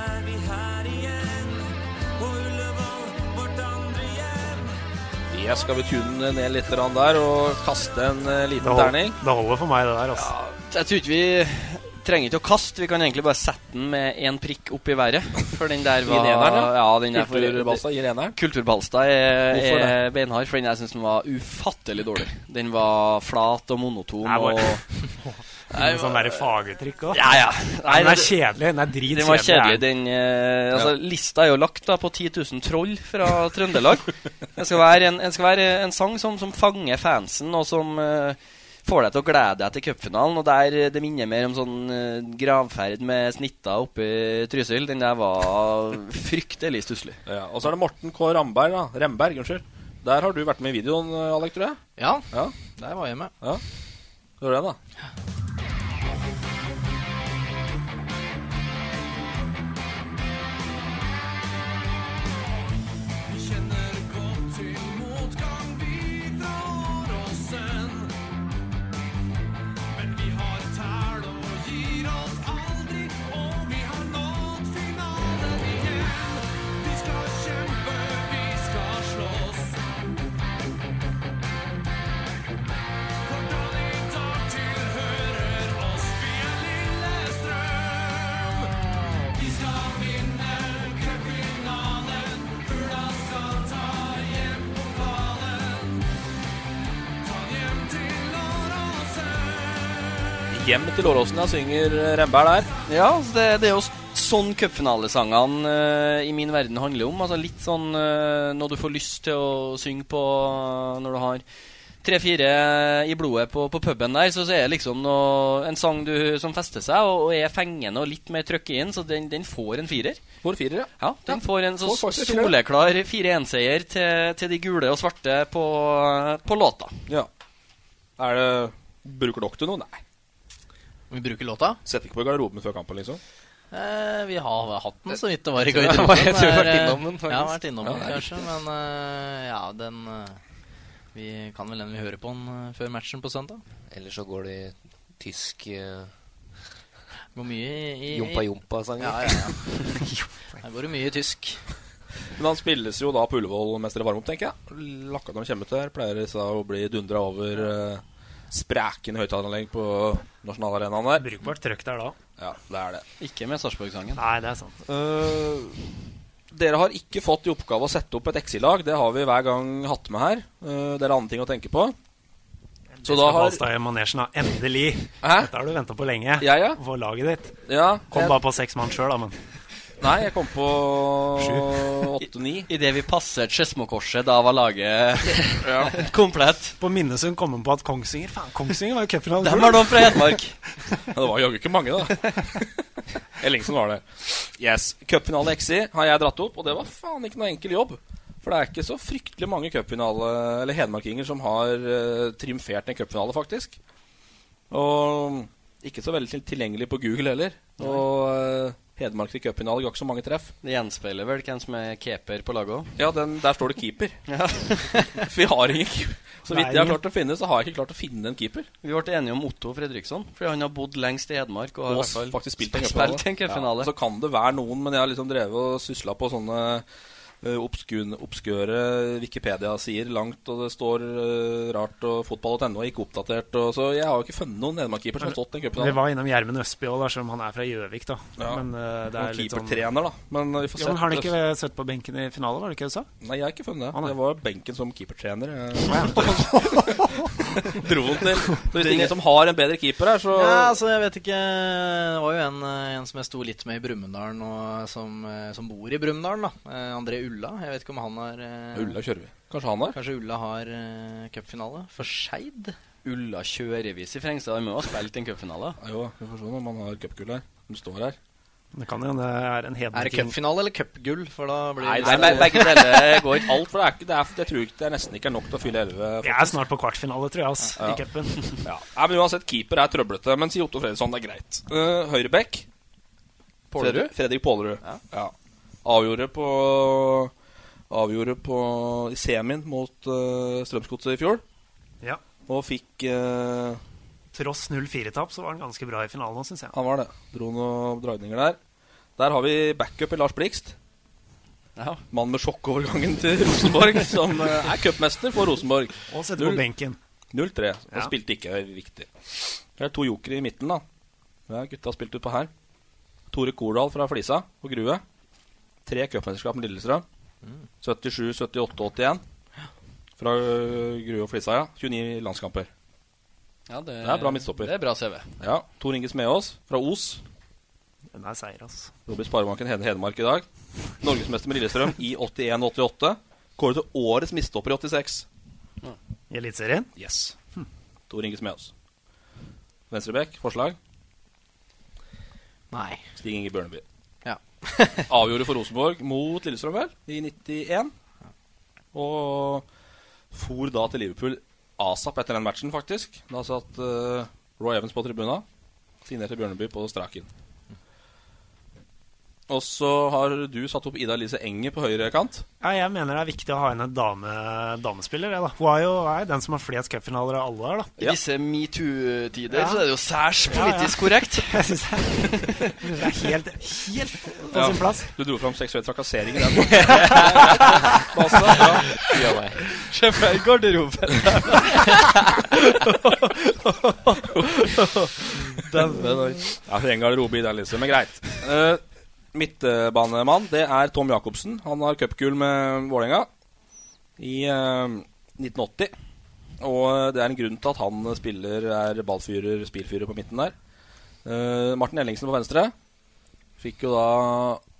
vi her igjen, på Ullevål, vårt andre hjem.
Det skal vi tune ned litt grann der og kaste en eh, liten
Det hold-
terning.
Det holder for meg, det der. altså.
Jeg tror ikke vi trenger ikke å kaste. Vi kan egentlig bare sette den med én prikk opp i været. For den der
Gi
var
den eneren, da.
ja, den der
Kulturbalstad gir eneren.
Kulturbalstad er,
Hvorfor det?
er beinhard, for den jeg syns den var ufattelig dårlig. Den var flat og monoton
Nei, bare-
og
Nei, sånn der fagetrykk òg.
Ja, ja.
Nei, den
det-
er kjedelig. Den er dritkjedelig.
Den var kjedelig. Den, eh, altså, Lista er jo lagt da på 10 000 troll fra Trøndelag. Det skal være en, det skal være en sang som, som fanger fansen, og som eh, får deg til å glede deg til cupfinalen. Og der eh, det minner mer om sånn eh, gravferd med snitta oppe i Trysil. Den der var fryktelig stusslig.
Ja, og så er det Morten K. Ramberg, da. Remberg, unnskyld. Der har du vært med i videoen, eh, Alek, tror jeg?
Ja,
ja.
der var jeg med.
Ja. Hør den, da.
Vi kjenner godt til motgang, vi drar
hjem til Åråsen og synger Remberg der.
Ja, altså det, det er jo s- sånn cupfinalesangene eh, i min verden handler om. Altså Litt sånn eh, noe du får lyst til å synge på eh, når du har tre-fire i blodet på, på puben der. Så, så er det liksom noe, en sang du, som fester seg og, og er fengende og litt mer trøkk inn, så den, den får en firer.
Får firer, ja.
ja den får en så
Får faktisk en firer.
soleklar 4-1-seier til, til de gule og svarte på, på låta.
Ja. Er det Bruker dere til noe? Nei.
Vi bruker låta?
Setter ikke på i garderoben før kampen, liksom?
Eh, vi har hatt den så vidt det var i
Jeg tror
garderoben.
jeg har vært
Det er, eh,
innom den, faktisk.
Ja, vært innom den
Ja, det er
kanskje, men eh, ja, den eh, Vi kan vel den vi hører på den eh, før matchen på søndag.
Ellers så går det tysk eh,
Går mye i, i
Jompa Jompa-sanger.
Ja, ja, ja. Her går det mye tysk.
Men han spilles jo da på Ullevål mens dere varmer opp, tenker jeg. Lakka når de kommer ut der, pleier disse å bli dundra over uh, sprekende høyttaleranlegg på nasjonalarenaen der.
Brukbart trøkk der da.
Ja, det er det.
Ikke med Sarpsborg-sangen.
Nei, det er sant.
Eh, dere har ikke fått i oppgave å sette opp et XI-lag. Det har vi hver gang hatt med her. Eh, det er andre ting å tenke på.
Så da har Balstad i manesjen, da. Endelig! Dette har du venta på lenge.
Ja, ja.
Få laget ditt.
Ja,
Kom
jeg-
bare på seks mann sjøl, da, men.
Nei, jeg kom på åtte-ni.
Idet vi passet Skedsmokorset, da var laget komplett.
På Minnesund kom han på at Kongsvinger Faen, Kongsvinger var jo cupfinalen.
Dem var da fra Hedmark.
Ja, det var jaggu ikke mange, da. Ellingsen var det. Yes. Cupfinale XI har jeg dratt opp, og det var faen ikke noe enkel jobb. For det er ikke så fryktelig mange cupfinale- eller hedmarkinger som har eh, triumfert en cupfinale, faktisk. Og ikke så veldig til- tilgjengelig på Google heller. Og eh, Hedmark til cupfinale ga ikke så mange treff.
Det gjenspeiler vel hvem som er keeper på laget òg.
Ja, den, der står det keeper. Vi har ingen keeper. Så vidt jeg har klart å finne, så har jeg ikke klart å finne en keeper.
Vi ble enige om Otto Fredriksson, fordi han har bodd lengst i Hedmark. Og har i
Og
hvert fall
faktisk spilt en
spilt en
Ja,
cupfinale.
så kan det være noen, men jeg har liksom drevet og sysla på sånne eh, obskun, obskøre Wikipedia-sider langt, og det står eh, rart, og fotball.no er ikke oppdatert, og så jeg har jo ikke funnet noen Hedmark-keeper som har stått i den
Vi
cupen.
var innom Gjermund Østby òg, selv om han er fra Gjøvik, da.
Ja.
Men eh, det
Han
er litt sånn
keepertrener, da. Men vi får
ja,
se.
men Har han ikke sett på benken i finale, var det ikke det du sa?
Nei, jeg har ikke funnet det. Det var benken som keepertrener. jeg- Dro den til. Så hvis det er ingen som har en bedre keeper her, så
Ja, altså, jeg vet ikke Det var jo en, eh, en som jeg sto litt med i Brumunddal nå, som, eh, som bor i Brumunddal, da. Eh, André Ulla. Jeg vet ikke om han har eh,
Ulla kjører vi. Kanskje han har?
Kanskje Ulla har eh, cupfinale for Skeid?
Ulla kjørevis i Frengstad. Han må ha spilt en cupfinale.
Jo, vi får se om han har cupgull her. Den står her.
Det kan jo hende det er
Er
en
det
hedmarking.
cupfinale eller cupgull? For da blir
Nei,
det-
det er, begge deler går ikke alt. For det er ikke, det er, jeg tror ikke det er nesten ikke er nok til å fylle 11.
Jeg er snart på kvartfinale, tror jeg, ass, i cupen.
Ja. Nei, men Uansett, keeper er trøblete. Men si Otto Fredriksson, det er greit. Uh, Høyrebekk.
Pålerud?
Fredrik, Fredrik Pålerud. Ja. Avgjorde på Avgjorde på i semien mot uh, Strømsgodset i fjor.
Ja.
Og fikk eh,
Tross 0-4-tap, så var han ganske bra i finalen nå, syns jeg.
Han var det. Dro noen dragninger der. Der har vi backup i Lars Blikst.
Ja.
Mann med sjokkovergangen til Rosenborg, som eh, er cupmester for Rosenborg.
Og setter på
Null-
benken.
0-3. Han
Ja.
spilte ikke viktig. Det er to jokere i midten, da. Ja, gutta har spilt utpå her. Tore Kordal fra Flisa og Grue. Tre cupmesterskap med Lillestrøm. 77, 78, 81. Fra øh, Grue og Flisa, ja. 29 landskamper.
Ja, det,
Det er bra midtstopper.
Det er bra CV.
Ja, Tor Inge Smeås fra Os.
Den er seier, ass.
Robert Sparebanken Hede Hedmark i dag. Norgesmester med Lillestrøm i 81-88. Kåret til årets mistopper i 86.
I Eliteserien?
Yes. Tor Inge Smeås. Venstrebekk, forslag?
Nei.
Stig Inge Bjørneby.
Ja.
Avgjorde for Rosenborg mot Lillestrøm, vel, i 91. Og for da til Liverpool asap etter den matchen, faktisk. Da satt eh, Roy Evans på tribuna. Signerte Bjørneby på straken. Og så har du satt opp Ida Elise Enger på høyre kant.
Ja, jeg mener det er viktig å ha inn en dame, damespiller. jeg, Da. Hun er jo er den som har flest cupfinaler av alle her, da.
I disse metoo-tider
Ja.
så er det jo særs
Ja, ja.
politisk korrekt.
Jeg synes det er- det er helt, helt på
Ja,
sin plass.
Du dro fram seksuell trakassering i den. Det er greit, det. Basta, ja. Ja, nei.
Se for deg garderoben der. Dæven oi.
Ja, det er en garderobe i den, liksom, men greit. Eh, Midtbanemann, det er Tom Jacobsen. Han har cupgull med Vålerenga i eh, 1980. Og eh, det er en grunn til at han eh, spiller er ballfyrer, spillfyrer på midten der. Eh, Martin Ellingsen på venstre fikk jo da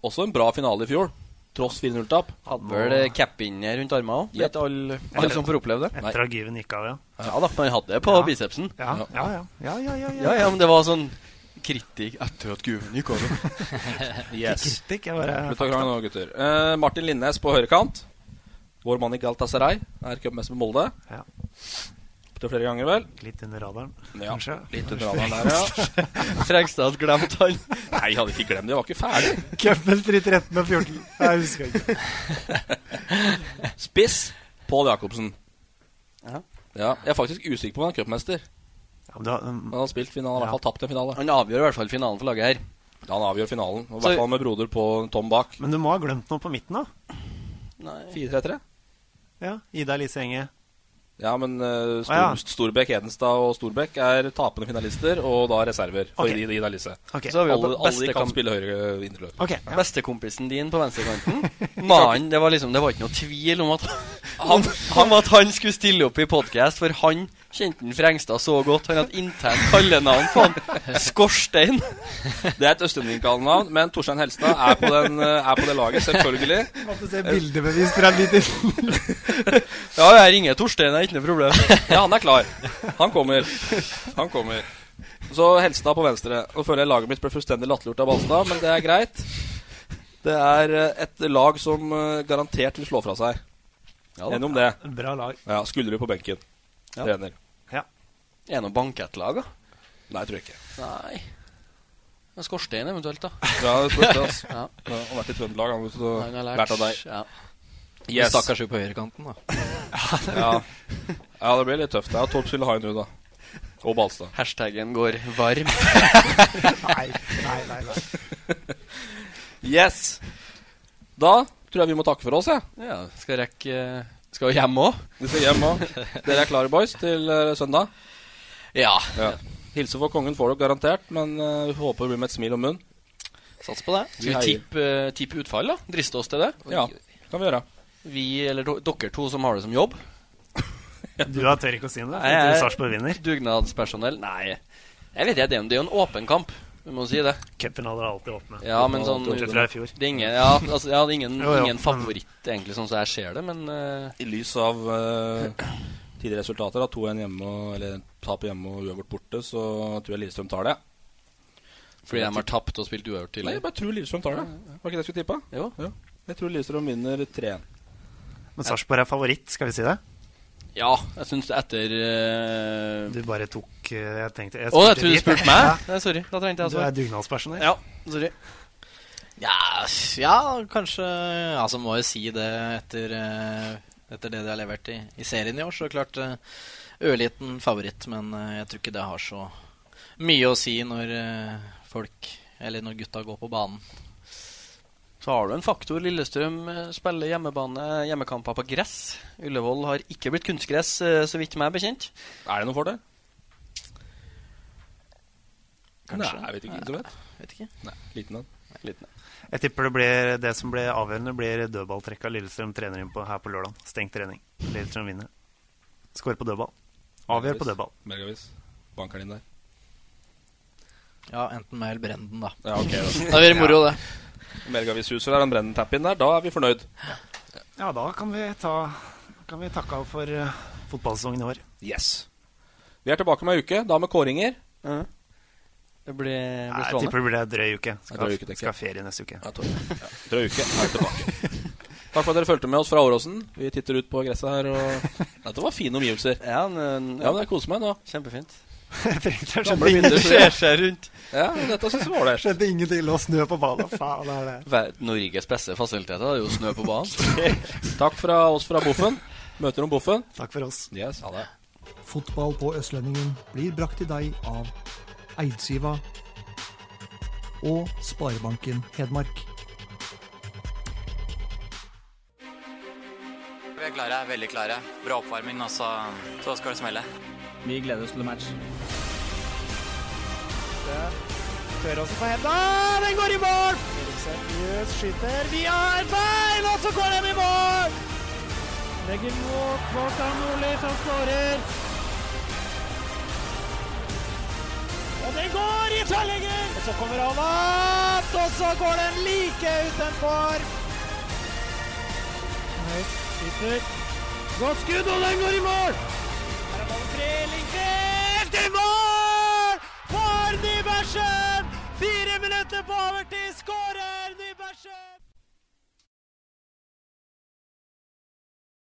også en bra finale i fjor, tross 4-0-tap.
Hadde vel eh, cap-bindet rundt armene òg, vet alle, alle som får oppleve det.
Etter
at given gikk av, ja.
Ja da, men han hadde det på bicepsen.
Ja, ja, ja. Ja, ja, ja, ja.
ja, ja, men det var sånn kritikk etter at guven gikk over.
Yes.
Kritikk er bare
Vi tar gang nå, gutter. Eh, Martin Linnes på høyrekant. Vår mann i Galtasaray er cupmester med Molde.
Ja.
Opptil flere ganger, vel?
Litt under radaren,
Ja,
kanskje?
litt under radaren der, ja.
Frengstad glemte han.
Nei, jeg hadde ikke glemt det. Jeg var ikke ferdig.
Cupmester i 13 og 14. Nei, Jeg husker ikke.
Spiss Pål Jacobsen.
Ja.
Ja, jeg er faktisk usikker på om han er cupmester. Men han har spilt finalen, i hvert fall tapt en finale.
Han avgjør i hvert fall finalen for laget her.
Han avgjør finalen, og i
Så-
hvert fall med broder på Tom bak.
Men du må ha glemt noe på midten, da?
4-3-3.
Ja. Ida Lise Enge.
Ja, men
Ah,
eh, Stor,
Å, ja.
Storbekk, Hedenstad og Storbekk er tapende finalister, og da reserver. For
Ok.
Ida- Ida Lise.
Ok. Så har vi jo
alle, alle
beste
kan
kamp-
spille høyre eh, indreløp.
Bestekompisen din på venstrekanten. Mannen, det var liksom Det var ikke noe tvil om at han, om at han skulle stille opp i podkast, for han kjente den Frengstad så godt. Han hadde internt kallenavn på han. Skorstein.
Det er et østlendingkallenavn, men Torstein Helstad er på, den, eh, er på det laget, selvfølgelig.
Måtte se bildebevis fra litt inn.
Ja, jeg ringer Torstein, det er ikke noe problem.
Ja, han er klar. Han kommer. Han kommer. Så Helstad på venstre. Nå føler jeg laget mitt ble fullstendig latterliggjort av Balstad, men det er greit. Det er eh, et lag som eh, garantert vil slå fra seg.
Ja da.
Enig om det.
Bra lag.
Ja, Skuldrud på benken.
Ja.
Trener.
Ja.
Er det noe bankettlag, da?
Nei, tror jeg ikke.
Nei. Ja, Skorstein eventuelt, da.
Ja, det spørs det, altså.
Ja.
Han har vært i Trøndelag, han. Så
Han har lært,
lært av deg.
ja.
Yes.
Stakkars jo på høyrekanten, da.
Ja. ja, det blir litt tøft. Ja, Torp skulle ha en nå, da. Og Balstad.
Hashtaggen går varm.
nei,
nei, nei,
nei. Yes. Da tror jeg vi må takke for oss, jeg.
Ja, skal rekke Skal hjem òg?
Vi skal hjem òg. Dere er klare, boys, til eh, søndag?
Ja.
Hilse for kongen får dere garantert, men eh, vi håper det blir med et smil om munnen.
Sats på det.
Vi
Skal vi
heier.
tippe, tippe utfall, da? Driste oss til det?
Ja, kan vi gjøre.
Vi, eller do- dere to som har det som jobb?
Du har tør ikke å si noe?
Nei, jeg
Du
er
Sarpsborg vinner?
Dugnadspersonell? Nei. Jeg vet ikke, det er jo- det er jo en åpen kamp. Vi må si det.
Cupfinaler er alltid åpne.
Ja, men sånn
Bortsett fra i fjor.
Det er ingen, ja, altså, jeg hadde ingen,
Jo, jo.
ingen favoritt, egentlig, sånn som jeg ser det, men eh,
I lys av eh, tidligere resultater, da, 2-1 hjemme og- eller tap hjemme og uavgjort borte, så tror jeg Lillestrøm tar det.
Fordi de har tapt og spilt uavgjort
Nei, jeg
tidligere.
bare tror Lillestrøm tar det. Var ikke det jeg skulle tippa?
Jo.
Jeg tror Lillestrøm vinner 3-1.
Men Sarpsborg er favoritt, skal vi si det?
Ja, jeg syns etter eh,
Du bare tok eh, Jeg tenkte
Å, jeg
spilte
trodde du
dit, jeg.
spurte meg?
Ja.
Nei, sorry. Da trengte jeg
Du er dugnadspersonell.
Ja, sorry.
Ja, s- ja, kanskje Altså, må jo si det etter, eh, etter det de har levert i, i serien i år. Så klart eh, ørliten favoritt, men eh, jeg tror ikke det har så mye å si når eh, folk Eller når gutta går på banen.
Så har du en faktor. Lillestrøm eh, spiller hjemmebane, hjemmekamper på gress. Ullevål har ikke blitt kunstgress, eh, så vidt meg bekjent.
Er det noen fordel?
Kanskje.
Nei, jeg vet ikke. Ingen som vet?
Vet ikke.
Nei, liten en.
Liten
Jeg tipper det blir det som blir avgjørende, blir dødballtrekka Lillestrøm trener inn på her på lørdag. Stengt trening. Lillestrøm vinner. Skårer på dødball. Avgjør på dødball.
Bergavis. Banker den inn der.
Ja, enten meg eller Brenden, da.
Ja, ok.
det blir moro, det.
Bergavis huser der, han brenner tappen der. Da er vi fornøyd.
Ja, da kan vi, ta, da kan vi takke av for eh, fotballsesongen i år.
Yes. Vi er tilbake om ei uke, da med kåringer.
Det blir,
Nei, jeg tipper det blir ei drøy uke. Skal,
Ei drøy
ha-
uke, tenker
skal
jeg.
ha ferie neste uke.
Drøy uke er vi tilbake. Takk for at dere fulgte med oss fra Åråsen. Vi titter ut på gresset her, og Dette var fine omgivelser.
Ja, men,
Ja, men jeg koser meg nå.
Kjempefint.
Gamle
skjønte ingenting.
bilder, så-
Skjer seg rundt.
Ja, men dette syns jeg var ålreit.
Skjønte ingenting. La snø på badet. Faen, det er det.
Ver- Norges beste fasiliteter det er jo snø på banen.
Takk fra oss fra Boffen. Møter om Boffen.
Takk for oss.
Yes, ha det.
Fotball på Østlendingen blir brakt til deg av Eidsiva og Sparebanken Hedmark.
Vi er klare, veldig klare. Bra oppvarming, og så, så skal det smelle.
Vi gleder oss til match.
Tør også på henda.
Ah,
Den går i mål! Seriøst skyter. Vi har bein, og så går den i mål!
Legger mot Kvartan Nordli, som skårer. Og det går i tverrlegger! Og så kommer han opp, og så går den like utenfor. Høyt skyter. Godt skudd, og den går i mål! Her er ballen fri, Lindgren til mål! For Nybergsen! Fire minutter på overtid, skårer Nybergsen!